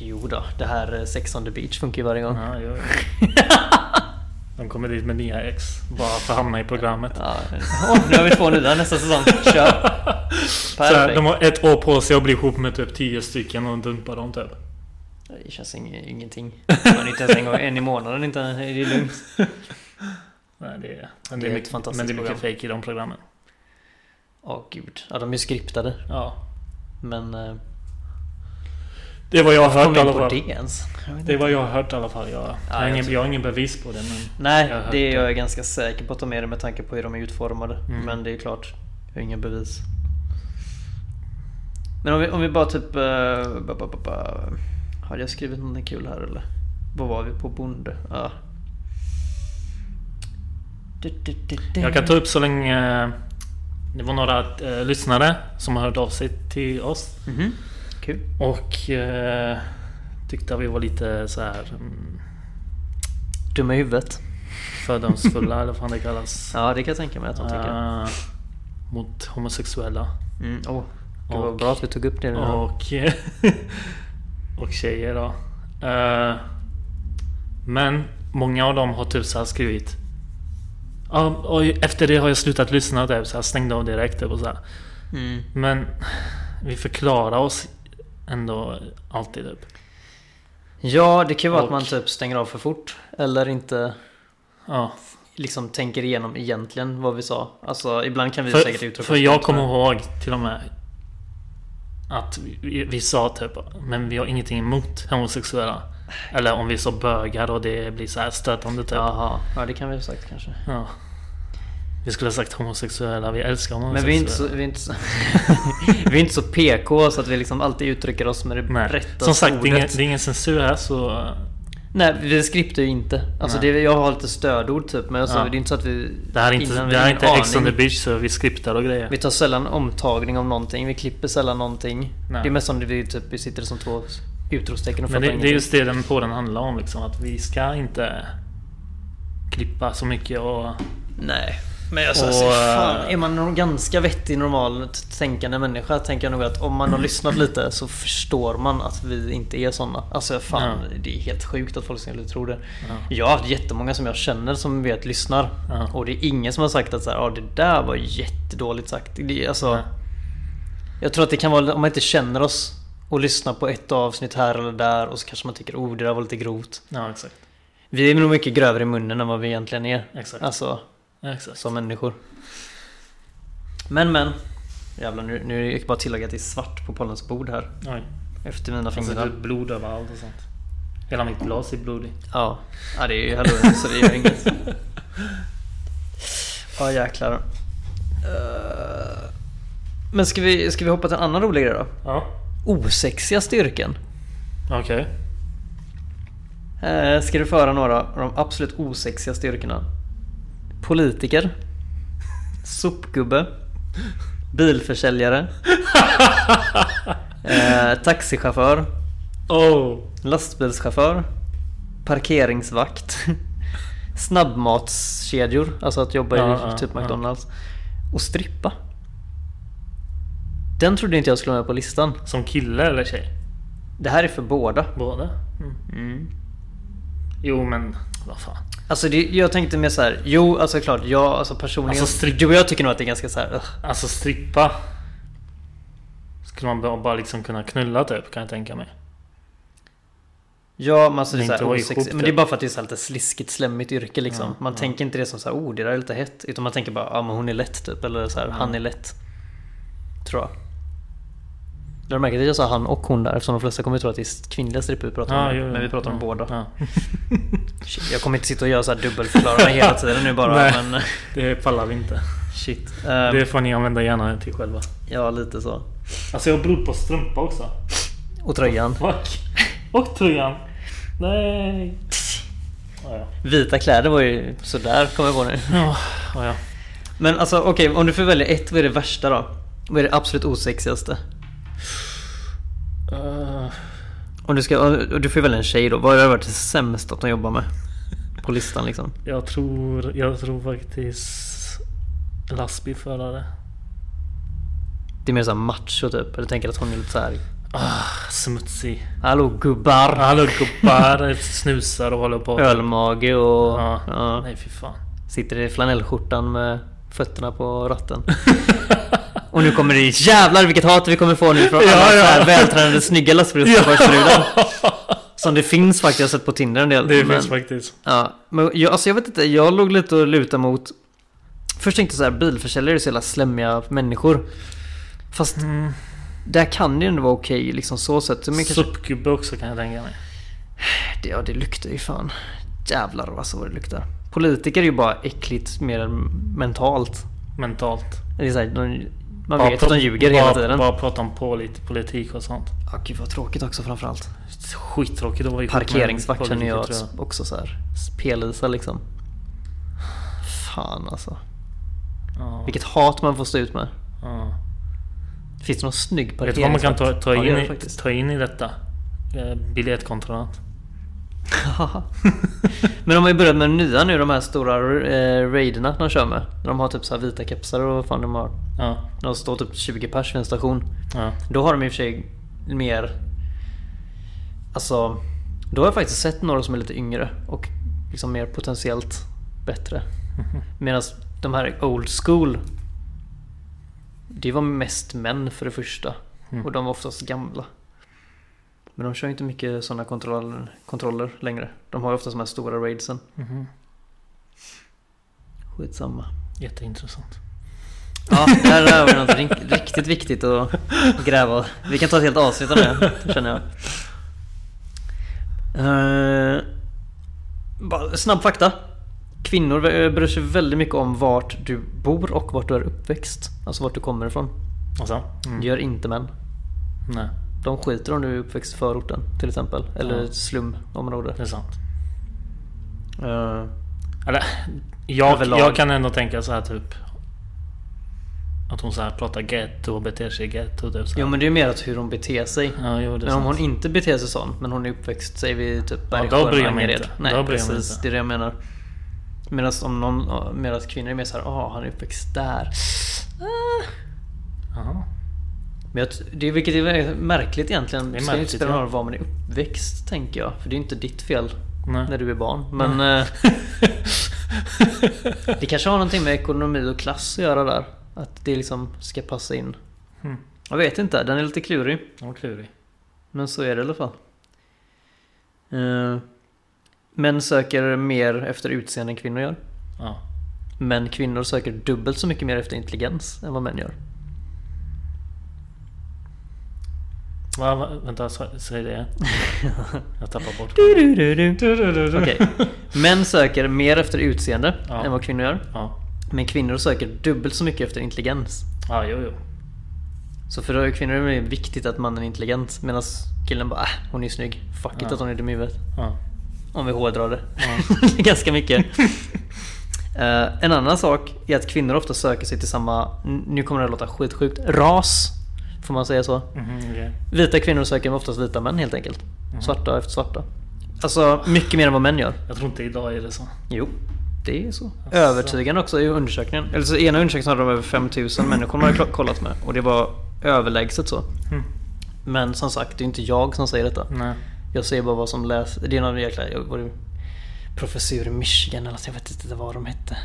Speaker 3: Jo då, det här eh, Sex on the beach funkar ju varje gång.
Speaker 2: Ja, jo, jo. De kommer dit med nya ex bara för att hamna i programmet.
Speaker 3: Ja. Åh, nu har vi två nya nästa säsong.
Speaker 2: [LAUGHS]
Speaker 3: Kör!
Speaker 2: Så här,
Speaker 3: Perfekt.
Speaker 2: de har ett år på sig att bli ihop med typ 10 stycken och dumpa dem typ.
Speaker 3: Det känns ing- ingenting. Man är inte ens en gång en i månaden inte. Det är lugnt.
Speaker 2: Nej, det är, men det är,
Speaker 3: Det är ett
Speaker 2: mycket,
Speaker 3: fantastiskt
Speaker 2: men det är mycket
Speaker 3: program.
Speaker 2: fake i de programmen.
Speaker 3: Åh gud. Ja de är ju skriptade.
Speaker 2: Ja.
Speaker 3: Men... eh,
Speaker 2: Det är vad jag har
Speaker 3: Kom
Speaker 2: hört i
Speaker 3: in
Speaker 2: alla
Speaker 3: på
Speaker 2: fall.
Speaker 3: det ens. Jag vet inte.
Speaker 2: Det är vad jag har hört i alla fall. Jag, jag, har
Speaker 3: jag
Speaker 2: ingen,
Speaker 3: tror-
Speaker 2: jag har ingen bevis på det men...
Speaker 3: Nej,
Speaker 2: jag har hört
Speaker 3: det är jag
Speaker 2: det.
Speaker 3: ganska säker på att de är det med tanke på hur de är utformade.
Speaker 2: Mm.
Speaker 3: Men det är klart, jag har inga bevis. Men om vi, om vi bara typ... eh, ba, ba, ba, ba. Har jag skrivit något kul här eller? Vad var vi på? Bonde? Ja. Du, du, du, du.
Speaker 2: Jag kan ta upp så länge... eh, Det var några eh, lyssnare som har hört av sig till oss.
Speaker 3: Mhm. Kul.
Speaker 2: Och eh, tyckte att vi var lite så här mm,
Speaker 3: Dumma i huvudet. [LAUGHS]
Speaker 2: fördomsfulla eller vad fan det kallas.
Speaker 3: Ja, det kan jag tänka mig att de tycker.
Speaker 2: Eh, mot homosexuella.
Speaker 3: Mm, oh. Det
Speaker 2: Och-
Speaker 3: var bra att vi tog upp det nu.
Speaker 2: Och, [LAUGHS] och tjejer då. Eh, men många av dem har typ så här skrivit. Ja, och efter det har jag slutat lyssna typ. Så jag stängde av direkt typ, och så här.
Speaker 3: Mm.
Speaker 2: Men vi förklarar oss ändå alltid typ.
Speaker 3: Ja, det kan ju vara att
Speaker 2: Och-
Speaker 3: man typ stänger av för fort. Eller inte
Speaker 2: Ja.
Speaker 3: liksom tänker igenom egentligen vad vi sa. Alltså ibland kan vi säkert
Speaker 2: För,
Speaker 3: uttrycka
Speaker 2: för
Speaker 3: oss
Speaker 2: jag
Speaker 3: dumt,
Speaker 2: kommer
Speaker 3: men-
Speaker 2: ihåg till och med att vi, vi sa typ men vi har ingenting emot homosexuella. Eller om vi sa bögar och det blir så här stötande typ.
Speaker 3: Jaha, ja det kan vi ha sagt kanske.
Speaker 2: Ja. Vi skulle ha sagt homosexuella, vi älskar
Speaker 3: Men
Speaker 2: homosexuella.
Speaker 3: vi är, inte så, vi, är inte så, [LAUGHS] vi är inte så PK så att vi liksom alltid uttrycker oss med det
Speaker 2: Nej.
Speaker 3: rätta
Speaker 2: Som sagt, det
Speaker 3: ordet.
Speaker 2: är, ingen, det är ingen censur här så... eh,
Speaker 3: Nej, vi skriptar ju inte. Alltså
Speaker 2: Nej.
Speaker 3: det, jag har lite stödord typ, men alltså,
Speaker 2: Ja.
Speaker 3: det är inte så att vi...
Speaker 2: Det här är inte,
Speaker 3: innan
Speaker 2: det
Speaker 3: vi
Speaker 2: här
Speaker 3: har
Speaker 2: är
Speaker 3: ingen
Speaker 2: inte Ex on the
Speaker 3: aning.
Speaker 2: beach så vi skriptar och grejer.
Speaker 3: Vi tar sällan omtagning om någonting, vi klipper sällan någonting.
Speaker 2: Nej.
Speaker 3: Det är mest som det vi, typ, vi sitter som två utropstecken och
Speaker 2: Men
Speaker 3: fattar
Speaker 2: det, det är
Speaker 3: ingenting.
Speaker 2: just det den podden handlar om liksom. Att vi ska inte klippa så mycket och...
Speaker 3: Nej. Men alltså,
Speaker 2: Och,
Speaker 3: alltså, fan,
Speaker 2: eh,
Speaker 3: är man en ganska vettig, normal t- tänkande människa tänker jag nog att om
Speaker 2: [CLEARS THROAT]
Speaker 3: man har lyssnat lite så förstår man att vi inte är sådana. Alltså fan,
Speaker 2: Ja.
Speaker 3: det är helt sjukt att folk skulle tro det.
Speaker 2: Ja.
Speaker 3: Jag har haft jättemånga som jag känner som vet lyssnar.
Speaker 2: Ja.
Speaker 3: Och det är ingen som har sagt att så här, ah, det där var jättedåligt sagt. Det, är alltså,
Speaker 2: Ja.
Speaker 3: Jag tror att det kan vara om man inte känner oss och lyssnar på ett avsnitt här eller där och så kanske man tycker oh det där var lite grovt.
Speaker 2: Ja, exakt.
Speaker 3: Vi är nog mycket grövre i munnen än vad vi egentligen är.
Speaker 2: Exakt.
Speaker 3: Alltså
Speaker 2: exakt.
Speaker 3: som människor. Men men. Jävlar nu, nu gick jag bara tillägga att det är svart på Pollens bord här.
Speaker 2: Oj.
Speaker 3: Efter mina
Speaker 2: Alltså,
Speaker 3: fingrar.
Speaker 2: det är blod överallt och sånt. Hela mitt glas är blodigt.
Speaker 3: Ja. ja, det är ju halloween så det gör inget. Ja jäklar. Eh, Men ska vi, ska vi hoppa till en annan rolig grej då?
Speaker 2: Ja.
Speaker 3: Osexigaste yrken.
Speaker 2: Okej. [LAUGHS]
Speaker 3: Eh, Ska du föra några av de absolut osexigaste yrkena? Politiker. Sopgubbe. Bilförsäljare. eh, taxichaufför.
Speaker 2: Oh!
Speaker 3: Lastbilschaufför. Parkeringsvakt. [LAUGHS] Snabbmatskedjor, alltså att jobba i
Speaker 2: Ja, ja,
Speaker 3: typ
Speaker 2: ja.
Speaker 3: McDonalds. Och strippa. Den trodde inte jag skulle vara med på listan.
Speaker 2: Som kille eller tjej?
Speaker 3: Det här är för båda.
Speaker 2: Båda? Mm. Jo men, vad fan.
Speaker 3: Alltså det, jag tänkte mer så här. jo alltså klart, jag alltså personligen,
Speaker 2: Alltså, strikt-
Speaker 3: du och jag tycker nog att det är ganska så här. ugh.
Speaker 2: Alltså strippa. Skulle man bara, bara liksom kunna knulla typ kan jag tänka mig.
Speaker 3: Ja men alltså det
Speaker 2: Men
Speaker 3: är så
Speaker 2: inte
Speaker 3: här,
Speaker 2: vara
Speaker 3: osexigt,
Speaker 2: ihop
Speaker 3: men
Speaker 2: det.
Speaker 3: det är bara för att det är så här lite sliskigt slemmigt yrke liksom.
Speaker 2: Ja,
Speaker 3: man
Speaker 2: ja.
Speaker 3: tänker inte det som så här, oh det där är lite hett. Utan man tänker bara, ja men hon är lätt typ, eller så här, han är lätt. Tror jag. Du har märkt att jag sa han och hon där eftersom de flesta kommer att tro att det är kvinnliga strippor vi pratar om.
Speaker 2: Ja,
Speaker 3: nu,
Speaker 2: jo, jo.
Speaker 3: men vi pratar om
Speaker 2: Ja,
Speaker 3: båda.
Speaker 2: ja.
Speaker 3: [LAUGHS] Shit, jag kommer inte sitta och göra så
Speaker 2: [LAUGHS]
Speaker 3: här dubbelförklaringar hela tiden nu bara.
Speaker 2: Nej.
Speaker 3: Men, eh,
Speaker 2: Det pallar vi inte.
Speaker 3: shit. Um,
Speaker 2: Det får ni använda gärna till själva.
Speaker 3: Ja lite så.
Speaker 2: Alltså jag har blod på strumpa också.
Speaker 3: Och tröjan.
Speaker 2: Fuck. Och tröjan. Nej.
Speaker 3: Ah,
Speaker 2: Ja, ja.
Speaker 3: Vita kläder var ju sådär kommer jag på nu.
Speaker 2: Ja, ah, ja,
Speaker 3: Ah,
Speaker 2: ja.
Speaker 3: Men alltså okej, om du får välja ett, vad är det värsta då? Vad är det absolut osexigaste?
Speaker 2: Eh,
Speaker 3: Om du, ska, och du får välja en tjej då, vad har varit det sämsta att de jobbar med? På listan liksom.
Speaker 2: jag tror, jag tror faktiskt lastbilförare.
Speaker 3: Det är mer såhär macho typ, eller tänker att hon är lite såhär
Speaker 2: Ah, smutsig.
Speaker 3: Hallå gubbar!
Speaker 2: Alla gubbar snusar och håller på.
Speaker 3: Ölmage och
Speaker 2: Ja.
Speaker 3: ja,
Speaker 2: Nej fy fan.
Speaker 3: sitter i flanellskjortan med fötterna på ratten.
Speaker 2: [LAUGHS]
Speaker 3: Och nu kommer det jävlar vilket hat vi kommer få nu från alla
Speaker 2: Ja,
Speaker 3: så här
Speaker 2: ja.
Speaker 3: vältränade
Speaker 2: [LAUGHS]
Speaker 3: snygga lastbilschaufförsbrudar. Som det finns faktiskt, jag har sett på Tinder en del.
Speaker 2: Det
Speaker 3: men-
Speaker 2: finns faktiskt.
Speaker 3: Ja, men jag, alltså jag vet inte, jag låg lite och lutade mot Först tänkte jag så här, bilförsäljare är så jävla slemmiga människor Fast
Speaker 2: Mm.
Speaker 3: där kan det ju ändå vara okej liksom så sett men kanske,
Speaker 2: Suppgubbe också kan jag tänka mig.
Speaker 3: det, Ja det luktar ju fan Jävlar alltså vad det luktar Politiker är ju bara äckligt mer än mentalt
Speaker 2: Mentalt.
Speaker 3: det är så här, de, Man
Speaker 2: Bara
Speaker 3: vet att de
Speaker 2: pra-
Speaker 3: ljuger
Speaker 2: bara,
Speaker 3: hela tiden
Speaker 2: Bara prata om på lite politik och sånt.
Speaker 3: Ja gud vad tråkigt också framförallt
Speaker 2: Skittråkigt att vara ihop med en
Speaker 3: Parkeringsvakt känner
Speaker 2: politiker,
Speaker 3: jag
Speaker 2: tror
Speaker 3: också så här P-Lisa liksom Fan alltså
Speaker 2: Ja.
Speaker 3: Vilket hat man får stå ut med
Speaker 2: Ja.
Speaker 3: Finns det någon snygg
Speaker 2: Vet du vad man kan
Speaker 3: parkeringsvakt?
Speaker 2: ta, ta,
Speaker 3: Ja, det
Speaker 2: in,
Speaker 3: gör det
Speaker 2: i,
Speaker 3: faktiskt.
Speaker 2: ta in i detta? Eh, Biljettkontrollant.
Speaker 3: [LAUGHS] Men de har ju börjat med nya nu, de här stora eh, raiderna de kör med. När de har typ så här vita kepsar och vad fan de har.
Speaker 2: Ja.
Speaker 3: När de står typ 20 pers vid en station.
Speaker 2: ja.
Speaker 3: Då har de i och för sig mer... Alltså... Då har jag faktiskt sett några som är lite yngre och liksom mer potentiellt bättre. Medan de här old school... Det var mest män för det första.
Speaker 2: Mm.
Speaker 3: Och de var oftast gamla. Men de kör inte mycket sådana kontroller, kontroller längre. De har ju oftast de här stora raidsen.
Speaker 2: Mhm.
Speaker 3: Skitsamma.
Speaker 2: Jätteintressant.
Speaker 3: Ja, där har vi något ri- riktigt viktigt att gräva. Vi kan ta ett helt avsnitt av det, känner jag. Eh, bara snabb fakta. Kvinnor eh, bryr sig väldigt mycket om vart du bor och vart du är uppväxt. Alltså vart du kommer ifrån.
Speaker 2: Alltså, mm.
Speaker 3: Det gör inte män.
Speaker 2: Nej,
Speaker 3: De skiter om du är uppväxt i förorten till exempel. Eller
Speaker 2: Ja.
Speaker 3: ett slumområde.
Speaker 2: det är sant.
Speaker 3: Eh,
Speaker 2: Eller, jag,
Speaker 3: Överlag.
Speaker 2: jag kan ändå tänka så här typ. Att hon så här pratar getto och beter sig getto. Typ, så här.
Speaker 3: Jo men det är mer att hur hon beter sig.
Speaker 2: ja, jo, det är
Speaker 3: Men om
Speaker 2: sant.
Speaker 3: hon inte beter sig sån, men hon är uppväxt säger vi typ
Speaker 2: Ja, då
Speaker 3: Bergsjön,
Speaker 2: bryr jag mig
Speaker 3: Angered.
Speaker 2: inte.
Speaker 3: Nej
Speaker 2: Då bryr jag
Speaker 3: precis,
Speaker 2: mig inte.
Speaker 3: det är det jag menar. Medan om någon, medan kvinnor är mer såhär, ah han är uppväxt där. Ah.
Speaker 2: Jaha.
Speaker 3: Men jag, t- det, är- vilket är väldigt märkligt egentligen.
Speaker 2: Det
Speaker 3: Det,
Speaker 2: är
Speaker 3: ska ju
Speaker 2: märkligt,
Speaker 3: inte spela någon
Speaker 2: ja.
Speaker 3: roll var man är uppväxt tänker jag. För det är ju inte ditt fel
Speaker 2: Nej.
Speaker 3: när du är barn. Men eh,
Speaker 2: [LAUGHS]
Speaker 3: det kanske har någonting med ekonomi och klass att göra där. Att det liksom ska passa in.
Speaker 2: Mm.
Speaker 3: Jag vet inte, den är lite klurig.
Speaker 2: Den var klurig.
Speaker 3: Men så är det i alla fall. Eh, män söker mer efter utseende än kvinnor gör.
Speaker 2: Ja.
Speaker 3: Men kvinnor söker dubbelt så mycket mer efter intelligens än vad män gör.
Speaker 2: Va, va, vänta, sä- säg
Speaker 3: [LAUGHS]
Speaker 2: det. [LAUGHS] Jag tappar bort.
Speaker 3: Okej. Män söker mer efter utseende
Speaker 2: Ja.
Speaker 3: än vad kvinnor gör.
Speaker 2: Ja.
Speaker 3: Men kvinnor söker dubbelt så mycket efter intelligens.
Speaker 2: ja, jo, jo.
Speaker 3: Så för kvinnor är det viktigt att mannen är intelligent. Medan killen bara äh, hon är snygg. Fuck it
Speaker 2: Ja.
Speaker 3: att hon är dum i huvudet.
Speaker 2: Ja.
Speaker 3: Om vi hårdrar det.
Speaker 2: Ja.
Speaker 3: [LAUGHS] Ganska mycket. Eh, en annan sak är att kvinnor ofta söker sig till samma, n- nu kommer det att låta skitsjukt, ras. Får man säga så?
Speaker 2: Mhm, okej.
Speaker 3: Vita kvinnor söker oftast vita män helt enkelt.
Speaker 2: Mhm.
Speaker 3: Svarta efter svarta. Alltså mycket mer än vad män gör.
Speaker 2: Jag tror inte idag är det så.
Speaker 3: Jo, det är så.
Speaker 2: Asså.
Speaker 3: Övertygande också i undersökningen. Eller så ena undersökningen hade de över 5000 människor man hade kollat med. Och det var överlägset så.
Speaker 2: Mm.
Speaker 3: Men som sagt, det är inte jag som säger detta.
Speaker 2: Nej.
Speaker 3: Jag säger bara vad som läs... Det är någon jäkla... jag- Var det professor i Michigan eller något? Jag vet inte vad de hette.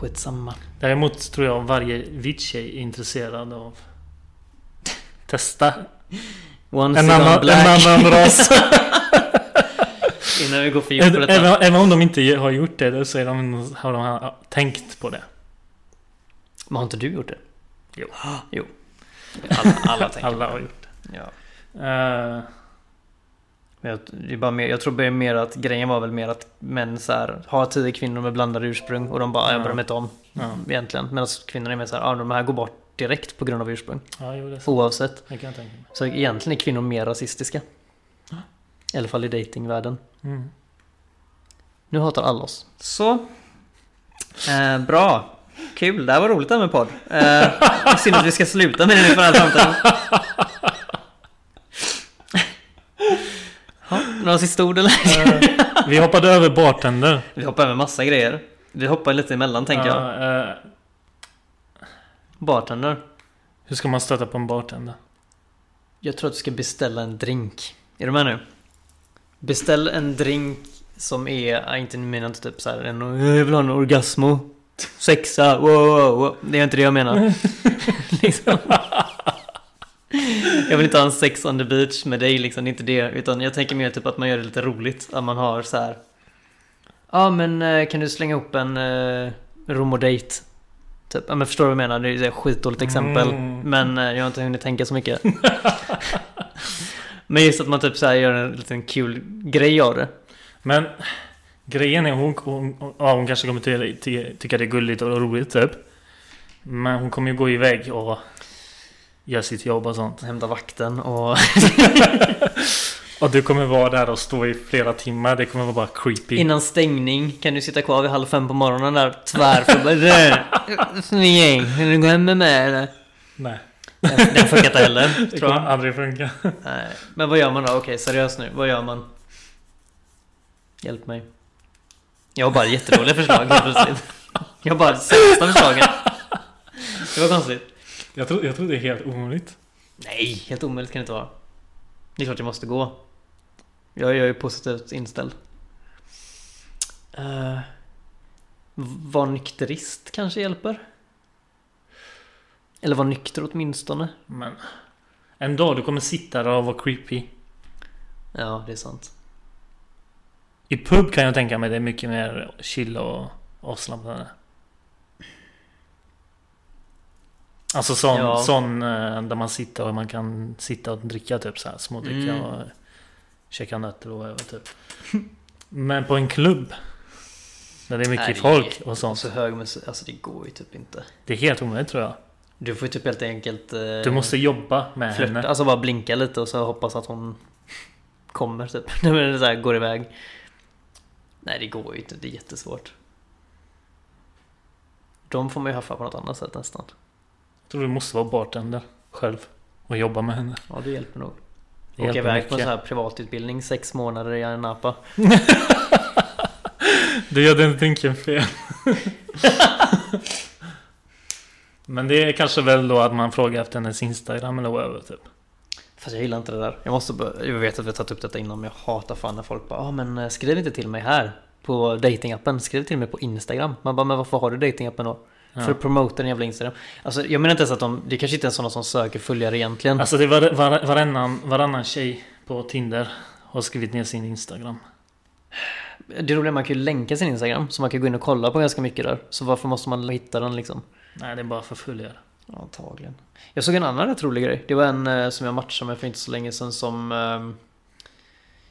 Speaker 3: Skitsamma.
Speaker 2: Däremot tror jag varje vit tjej är intresserad av [LAUGHS] testa
Speaker 3: Once
Speaker 2: en
Speaker 3: is on
Speaker 2: annan, en
Speaker 3: black. [LAUGHS]
Speaker 2: annan ras.
Speaker 3: Innan vi går för djupt på
Speaker 2: även,
Speaker 3: detta.
Speaker 2: även om de inte har gjort det så är de, har de ha- tänkt på det.
Speaker 3: Men har inte du gjort det?
Speaker 2: Jo.
Speaker 3: Jo. Alla, alla tänker
Speaker 2: Alla
Speaker 3: på
Speaker 2: har
Speaker 3: det.
Speaker 2: gjort det.
Speaker 3: Ja.
Speaker 2: Eh,
Speaker 3: Men jag, det är bara mer, jag tror bara mer att grejen var väl mer att män så här, har tio kvinnor med blandade ursprung och de bara
Speaker 2: Ja.
Speaker 3: jag bryr mig inte om
Speaker 2: ja.
Speaker 3: egentligen. Medan kvinnorna är mer så här, ah, de här går bort direkt på grund av ursprung.
Speaker 2: ja, jo det är sant.
Speaker 3: Oavsett.
Speaker 2: Det kan jag tänka mig.
Speaker 3: Så egentligen är kvinnor mer rasistiska. I alla fall i datingvärlden.
Speaker 2: Mm.
Speaker 3: Nu hatar alla oss. Så. Eh, bra. Kul, det här var roligt det här med podd. Eh, synd att vi ska sluta med det nu för all framtid. Ja, Några sista ord eller?
Speaker 2: Eh, vi hoppade över bartender.
Speaker 3: Vi hoppar över massa grejer. Vi hoppar lite emellan tänker jag.
Speaker 2: Ja, eh,
Speaker 3: Bartender.
Speaker 2: hur ska man stöta på en bartender?
Speaker 3: Jag tror att du ska beställa en drink. Är du med nu? Beställ en drink som är, ja, inte nu menar jag inte typ såhär en, jag vill ha en orgasmo. Sexa, wow, wow, wow. Det är inte det
Speaker 2: [LAUGHS]
Speaker 3: jag menar. liksom. Jag vill inte ha en sex on the beach med dig liksom, det är inte det. Utan jag tänker mer typ att man gör det lite roligt. Att man har så här. Ja men eh, kan du slänga ihop en eh, romodate? Typ, ja men förstår du vad jag menar? Det är ett skitdåligt exempel.
Speaker 2: Mm.
Speaker 3: Men eh, jag har inte hunnit tänka så mycket. men just att man typ så här gör en liten kul grej av det.
Speaker 2: [LAUGHS] Men grejen är hon, hon, hon, ja, hon kanske kommer till, till, tycka det är gulligt och roligt typ. Men hon kommer ju gå iväg och göra sitt jobb och [LAUGHS] sånt.
Speaker 3: Hämta vakten och...
Speaker 2: Och du kommer vara där och stå i flera timmar. Det kommer vara bara creepy.
Speaker 3: [LAUGHS] Innan stängning kan du sitta kvar vid halv fem på morgonen där tvärförberedd. Du, Snygg Vill du gå hem med mig eller?
Speaker 2: Nej,
Speaker 3: Den den funkar inte heller.
Speaker 2: [LAUGHS] det
Speaker 3: Tror
Speaker 2: kommer
Speaker 3: jag.
Speaker 2: aldrig funka.
Speaker 3: Nej. Men vad gör man då? Okej, seriöst nu. Vad gör man? Hjälp mig. Jag har bara jätteroliga förslag helt plötsligt. Jag har bara sämsta förslagen. Det var konstigt.
Speaker 2: Jag tror, jag tror det är helt omöjligt.
Speaker 3: Nej, helt omöjligt kan det inte vara. Det är klart jag måste gå. Jag, jag är positivt inställd. Uh, var nykterist kanske hjälper? Eller var nykter åtminstone.
Speaker 2: Men en dag du kommer sitta där och vara creepy.
Speaker 3: Ja, det är sant.
Speaker 2: I pub kan jag tänka mig det är mycket mer chill och avslappnande. Alltså sån,
Speaker 3: Ja.
Speaker 2: sån eh, där man sitter och man kan sitta och dricka typ så här smådricka
Speaker 3: Mm.
Speaker 2: och käka nötter och whatever typ. Men på en klubb. När det är mycket
Speaker 3: Nej, det är
Speaker 2: folk och sånt.
Speaker 3: Så hög musik, alltså det går ju typ inte.
Speaker 2: Det är helt omöjligt tror jag.
Speaker 3: Du får ju typ helt enkelt... eh,
Speaker 2: Du måste jobba med
Speaker 3: flirta,
Speaker 2: henne.
Speaker 3: alltså bara blinka lite och så hoppas att hon kommer typ. [LAUGHS] Nej men så här, går iväg. Nej det går ju inte, det är jättesvårt. De får man ju haffa på något annat sätt nästan.
Speaker 2: Jag tror du måste vara bartender själv. Och jobba med henne.
Speaker 3: Ja det hjälper nog.
Speaker 2: Det
Speaker 3: Åka
Speaker 2: hjälper
Speaker 3: iväg på en
Speaker 2: mycket.
Speaker 3: sån här privatutbildning sex månader i Napa.
Speaker 2: Du gör den drinken fel. Men det är kanske väl då att man frågar efter hennes Instagram eller whatever typ.
Speaker 3: Fast jag gillar inte det där. Jag måste bör- jag vet att vi har tagit upp detta innan men jag hatar fan när folk bara ah, men eh, skriv inte till mig här på datingappen. Skriv till mig på Instagram. Man bara men varför har du datingappen då?
Speaker 2: Ja.
Speaker 3: För att promota den jävla Instagram. Alltså jag menar inte ens att de, det kanske inte är sådana som söker följare egentligen.
Speaker 2: Alltså det var, var, varannan, varannan tjej på Tinder har skrivit ner sin Instagram.
Speaker 3: Det roliga är att man kan ju länka sin Instagram så man kan gå in och kolla på ganska mycket där. Så varför måste man hitta den liksom?
Speaker 2: Nej, det är bara för följare.
Speaker 3: Ja, Antagligen. Jag såg en annan rätt rolig grej. Det var en eh, som jag matchade med för inte så länge sedan som ehm, [SIGHS]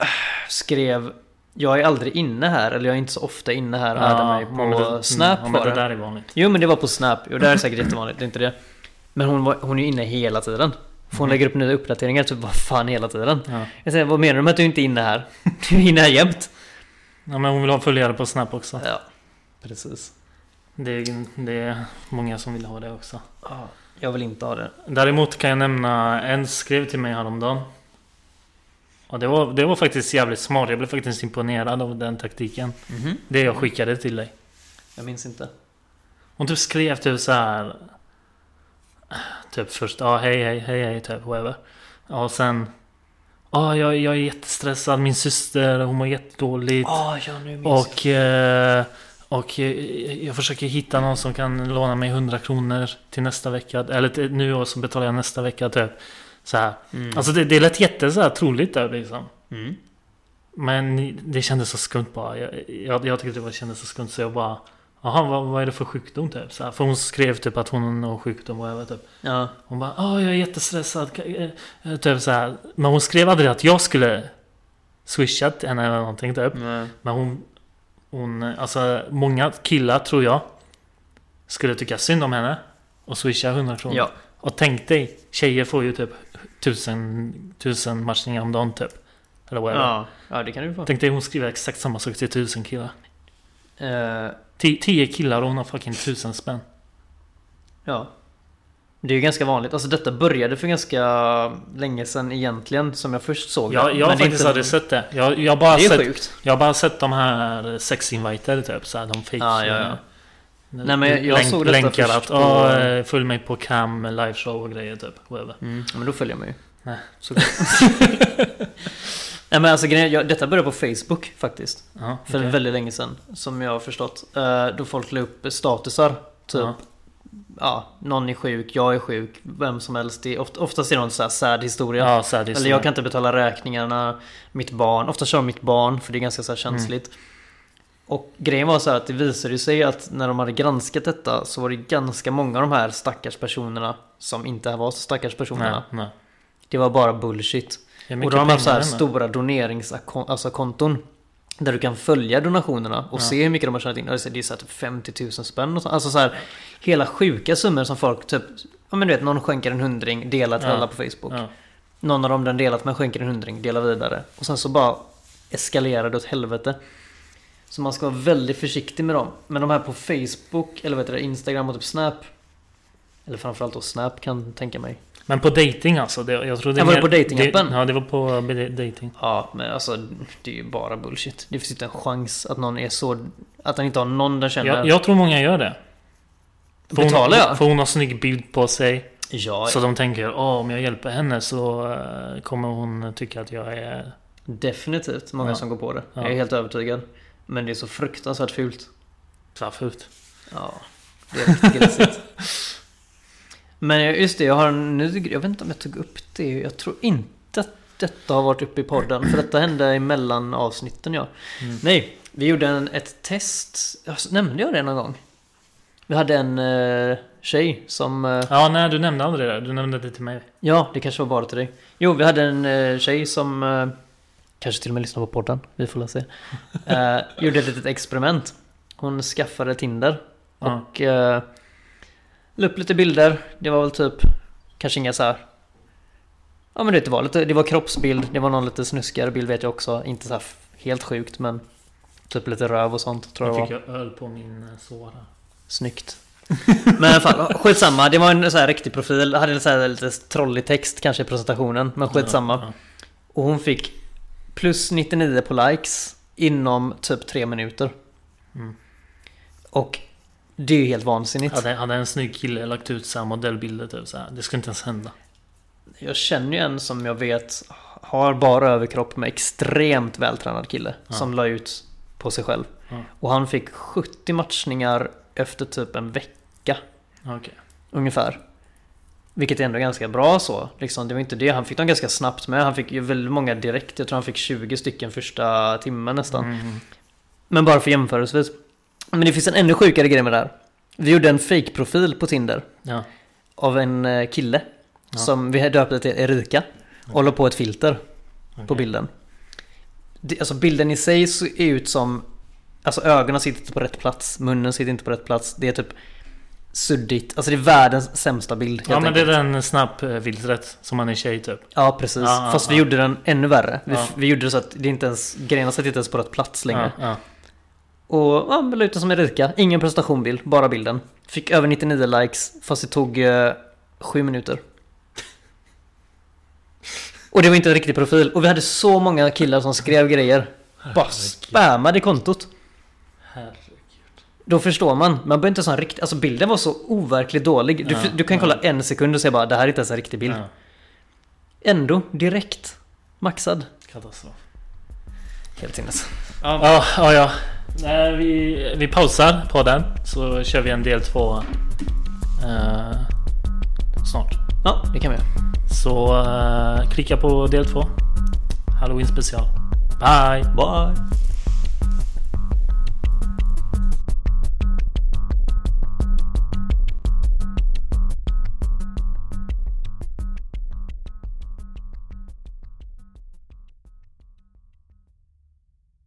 Speaker 3: äh, skrev Jag är aldrig inne här eller jag är inte så ofta inne här och hade mig
Speaker 2: ja, Mm, men
Speaker 3: på
Speaker 2: det-
Speaker 3: Snap
Speaker 2: ja, men
Speaker 3: var
Speaker 2: det
Speaker 3: det.
Speaker 2: där är vanligt.
Speaker 3: Jo men det var på Snap. Jo det här är säkert jättevanligt, det är inte det. Men hon, var, hon är ju inne hela tiden. För hon
Speaker 2: Mhm.
Speaker 3: lägger upp nya uppdateringar typ vad fan hela tiden.
Speaker 2: Ja.
Speaker 3: Jag säger vad menar du med att du inte är inne här? Du är inne här jämt.
Speaker 2: ja, men hon vill ha följare på Snap också.
Speaker 3: Ja, precis.
Speaker 2: Det är, det är många som vill ha det också.
Speaker 3: Ja, Jag vill inte ha det.
Speaker 2: Däremot kan jag nämna en skrev till mig häromdagen. Och det var, det var faktiskt jävligt smart. Jag blev faktiskt imponerad av den taktiken. Det jag skickade till dig.
Speaker 3: Jag minns inte.
Speaker 2: Hon typ skrev typ så här. Typ först, ja hej hej hej hej typ whatever. Ja och sen. Ja jag, jag är jättestressad. Min syster hon mår jättedåligt.
Speaker 3: Ah, ja, nu minns jag.
Speaker 2: Och, eh, och eh, jag försöker hitta någon som kan låna mig 100 kronår till nästa vecka. Eller till nu och så betalar jag nästa vecka typ. Så här.
Speaker 3: Mm.
Speaker 2: Alltså det, det lät jätte så här troligt där liksom.
Speaker 3: Mm.
Speaker 2: Men det kändes så skumt bara. Jag, jag, jag tyckte det var- kändes så skumt så jag bara Jaha, vad, vad är det för sjukdom typ? Så här, för hon skrev typ att hon har sjukdom och jag vet typ.
Speaker 3: Ja.
Speaker 2: Hon bara ah jag är jättestressad. Ka- eh, eh, Typ så här. Men hon skrev aldrig att jag skulle swisha till henne eller någonting typ.
Speaker 3: Nej.
Speaker 2: Men hon, hon, alltså många killar tror jag skulle tycka synd om henne och swisha 100 kronor.
Speaker 3: Ja.
Speaker 2: Och tänk dig, tjejer får ju typ 1000, 1000 matchningar om dagen typ. Eller whatever.
Speaker 3: Ja. ja, det kan du få.
Speaker 2: Tänk dig hon skriver exakt samma sak till 1000 killar.
Speaker 3: Eh,
Speaker 2: 10 10 killar och hon har fucking 1000 spänn.
Speaker 3: ja. Det är ju ganska vanligt. Alltså detta började för ganska länge sedan egentligen som jag först såg det.
Speaker 2: Jag, jag
Speaker 3: Men det
Speaker 2: har
Speaker 3: är
Speaker 2: faktiskt
Speaker 3: inte-
Speaker 2: aldrig sett det. Jag, jag, har bara
Speaker 3: Det är
Speaker 2: sett,
Speaker 3: sjukt.
Speaker 2: jag har bara sett de här sexinviter typ. Så här, de fake,
Speaker 3: Ja, ja, ja.
Speaker 2: eh,
Speaker 3: Nej, men jag- jag såg detta
Speaker 2: länkar
Speaker 3: först
Speaker 2: att
Speaker 3: på-
Speaker 2: "Ah, eh, följ mig på cam, liveshow och grejer typ. Whatever.
Speaker 3: Mm. Ja, men då följer man ju.
Speaker 2: Nej.
Speaker 3: [LAUGHS] Såklart. Nej men alltså grejen, är- jag, detta började på Facebook faktiskt.
Speaker 2: Ja,
Speaker 3: För
Speaker 2: okej.
Speaker 3: väldigt länge sedan. Som jag har förstått. Eh, Då folk la upp statusar. Typ.
Speaker 2: Ja.
Speaker 3: Ja. någon är sjuk, jag är sjuk, vem som helst. Det är oft, oftast är det någon så här sad historia.
Speaker 2: Ja, så här, det är
Speaker 3: Eller jag kan inte betala räkningarna, mitt barn. Ofta kör mitt barn för det är ganska så här känsligt. Och grejen var så här att det visade sig att när de hade granskat detta så var det ganska många av de här stackars personerna som inte var så stackars personerna.
Speaker 2: Nej, nej.
Speaker 3: Det var bara bullshit.
Speaker 2: Det är mycket
Speaker 3: Och då har de haft så här
Speaker 2: pengar, men-
Speaker 3: stora doneringskonton alltså konton, där du kan följa donationerna och
Speaker 2: Ja.
Speaker 3: se hur mycket de har tjänat in. Alltså, Det är så här typ 50 000 spänn och så. Alltså så här, hela sjuka summor som folk typ... Ja men du vet, någon skänker en hundring, delar till
Speaker 2: Ja.
Speaker 3: alla på Facebook.
Speaker 2: Ja.
Speaker 3: Någon av dem den delat med skänker en hundring, delar vidare. Och sen så bara eskalerar det åt helvete. Så man ska vara väldigt försiktig med dem. Men de här på Facebook, eller vad heter det, Instagram och typ Snap. Eller framförallt då Snap kan jag tänka mig.
Speaker 2: Men på dating alltså? Det, jag tror det är
Speaker 3: Ja, var det
Speaker 2: mer-
Speaker 3: på datingappen?
Speaker 2: det- Ja, det var på eh, be- dating.
Speaker 3: Ja, men alltså det är ju bara bullshit. Det finns inte en chans att någon är så... Att han inte har någon den känner.
Speaker 2: Jag, jag tror många gör det. För
Speaker 3: Betalar
Speaker 2: hon,
Speaker 3: jag?
Speaker 2: För hon har snygg bild på sig.
Speaker 3: ja
Speaker 2: Så de tänker "Åh, om jag hjälper henne så eh, kommer hon tycka att jag är...
Speaker 3: definitivt många
Speaker 2: Ja.
Speaker 3: som går på det.
Speaker 2: Ja.
Speaker 3: Jag är helt övertygad. Men det är så fruktansvärt fult.
Speaker 2: Svartfot.
Speaker 3: Ja, det är riktigt grisigt. [LAUGHS] Men jag- just det, jag har en ny Jag vet inte om jag tog upp det. Jag tror inte att detta har varit uppe i podden. För detta hände i mellan avsnitten ja.
Speaker 2: Mm.
Speaker 3: Nej, vi gjorde en, ett test. Jag s- Nämnde jag det någon gång? Vi hade en eh, tjej som... Eh,
Speaker 2: Ja, nej du nämnde aldrig det. Du nämnde det till mig.
Speaker 3: ja, det kanske var bara till dig. Jo, vi hade en eh, tjej som eh, Kanske till och med lyssnar på podden. Vi får
Speaker 2: [LAUGHS]
Speaker 3: väl se. Eh, gjorde ett litet experiment. Hon skaffade Tinder.
Speaker 2: Ja.
Speaker 3: Och eh, la upp lite bilder. Det var väl typ kanske inga så här. Ja men det var lite, det var kroppsbild. Det var någon lite snuskigare bild vet jag också. Inte så här f- helt sjukt men typ lite röv och sånt tror jag
Speaker 2: Nu
Speaker 3: det var.
Speaker 2: fick jag öl på min eh, såra.
Speaker 3: Snyggt. Men i alla fall, skitsamma. Det var en så här riktig profil. Jag hade en så här lite trollig text kanske i presentationen. Men skitsamma.
Speaker 2: Ja,
Speaker 3: Och hon fick plus 99 på likes inom typ tre minuter.
Speaker 2: Mm.
Speaker 3: Och det är ju helt
Speaker 2: ja.
Speaker 3: vansinnigt.
Speaker 2: Hade, hade en snygg kille lagt ut så här modellbilder typ så här. Det skulle inte ens hända.
Speaker 3: Jag känner ju en som jag vet har bara överkropp med extremt vältränad kille.
Speaker 2: Ja.
Speaker 3: Som la ut på sig själv.
Speaker 2: Ja.
Speaker 3: Och han fick 70 matchningar efter typ en vecka.
Speaker 2: Okej.
Speaker 3: Ungefär. Vilket är ändå ganska bra så. Liksom, det var inte det. Han fick dem ganska snabbt med. Han fick ju väldigt många direkt. Jag tror han fick 20 stycken första timmen nästan.
Speaker 2: Mm.
Speaker 3: Men bara för jämförelsevis. Men det finns en ännu sjukare grej med det här. Vi gjorde en fake-profil på Tinder.
Speaker 2: Ja.
Speaker 3: Av en eh, kille.
Speaker 2: Ja.
Speaker 3: Som vi döpte till Erika. Och la på ett filter på
Speaker 2: okej.
Speaker 3: bilden. Det, alltså bilden i sig ser ut som... Alltså ögonen sitter inte på rätt plats, munnen sitter inte på rätt plats. Det är typ suddigt. Alltså det är världens sämsta bild.
Speaker 2: Ja
Speaker 3: helt
Speaker 2: men det är
Speaker 3: enkelt.
Speaker 2: den snabb eh, vilträtt som man är tjej typ.
Speaker 3: ja precis.
Speaker 2: Ja, ja,
Speaker 3: Fast vi
Speaker 2: ja.
Speaker 3: gjorde den ännu värre. Vi,
Speaker 2: Ja.
Speaker 3: vi gjorde så att det inte ens, grejerna satt inte ens på rätt plats längre.
Speaker 2: Ja, ja.
Speaker 3: Och ja, vi la ut den som Erika. Ingen presentationbild, bara bilden. Fick över 99 likes, fast det tog eh, sju minuter. Och det var inte en riktig profil. Och vi hade så många killar som skrev grejer. Bara
Speaker 2: Herregud.
Speaker 3: spammade kontot.
Speaker 2: Herregud.
Speaker 3: Då förstår man. Man behöver inte ha en riktig... Alltså bilden var så overkligt dålig. Du,
Speaker 2: Ja,
Speaker 3: du kan
Speaker 2: ja.
Speaker 3: kolla en sekund och säga bara det här är inte ens en riktig bild.
Speaker 2: Ja,
Speaker 3: Ändå, direkt. Maxad.
Speaker 2: katastrof.
Speaker 3: Helt sinnes.
Speaker 2: Ja, ja, ja. Nej, vi, vi pausar på den så kör vi en del två eh, snart.
Speaker 3: Ja, det kan vi göra.
Speaker 2: Så eh, klicka på del två. Halloween special. Bye!
Speaker 3: Bye!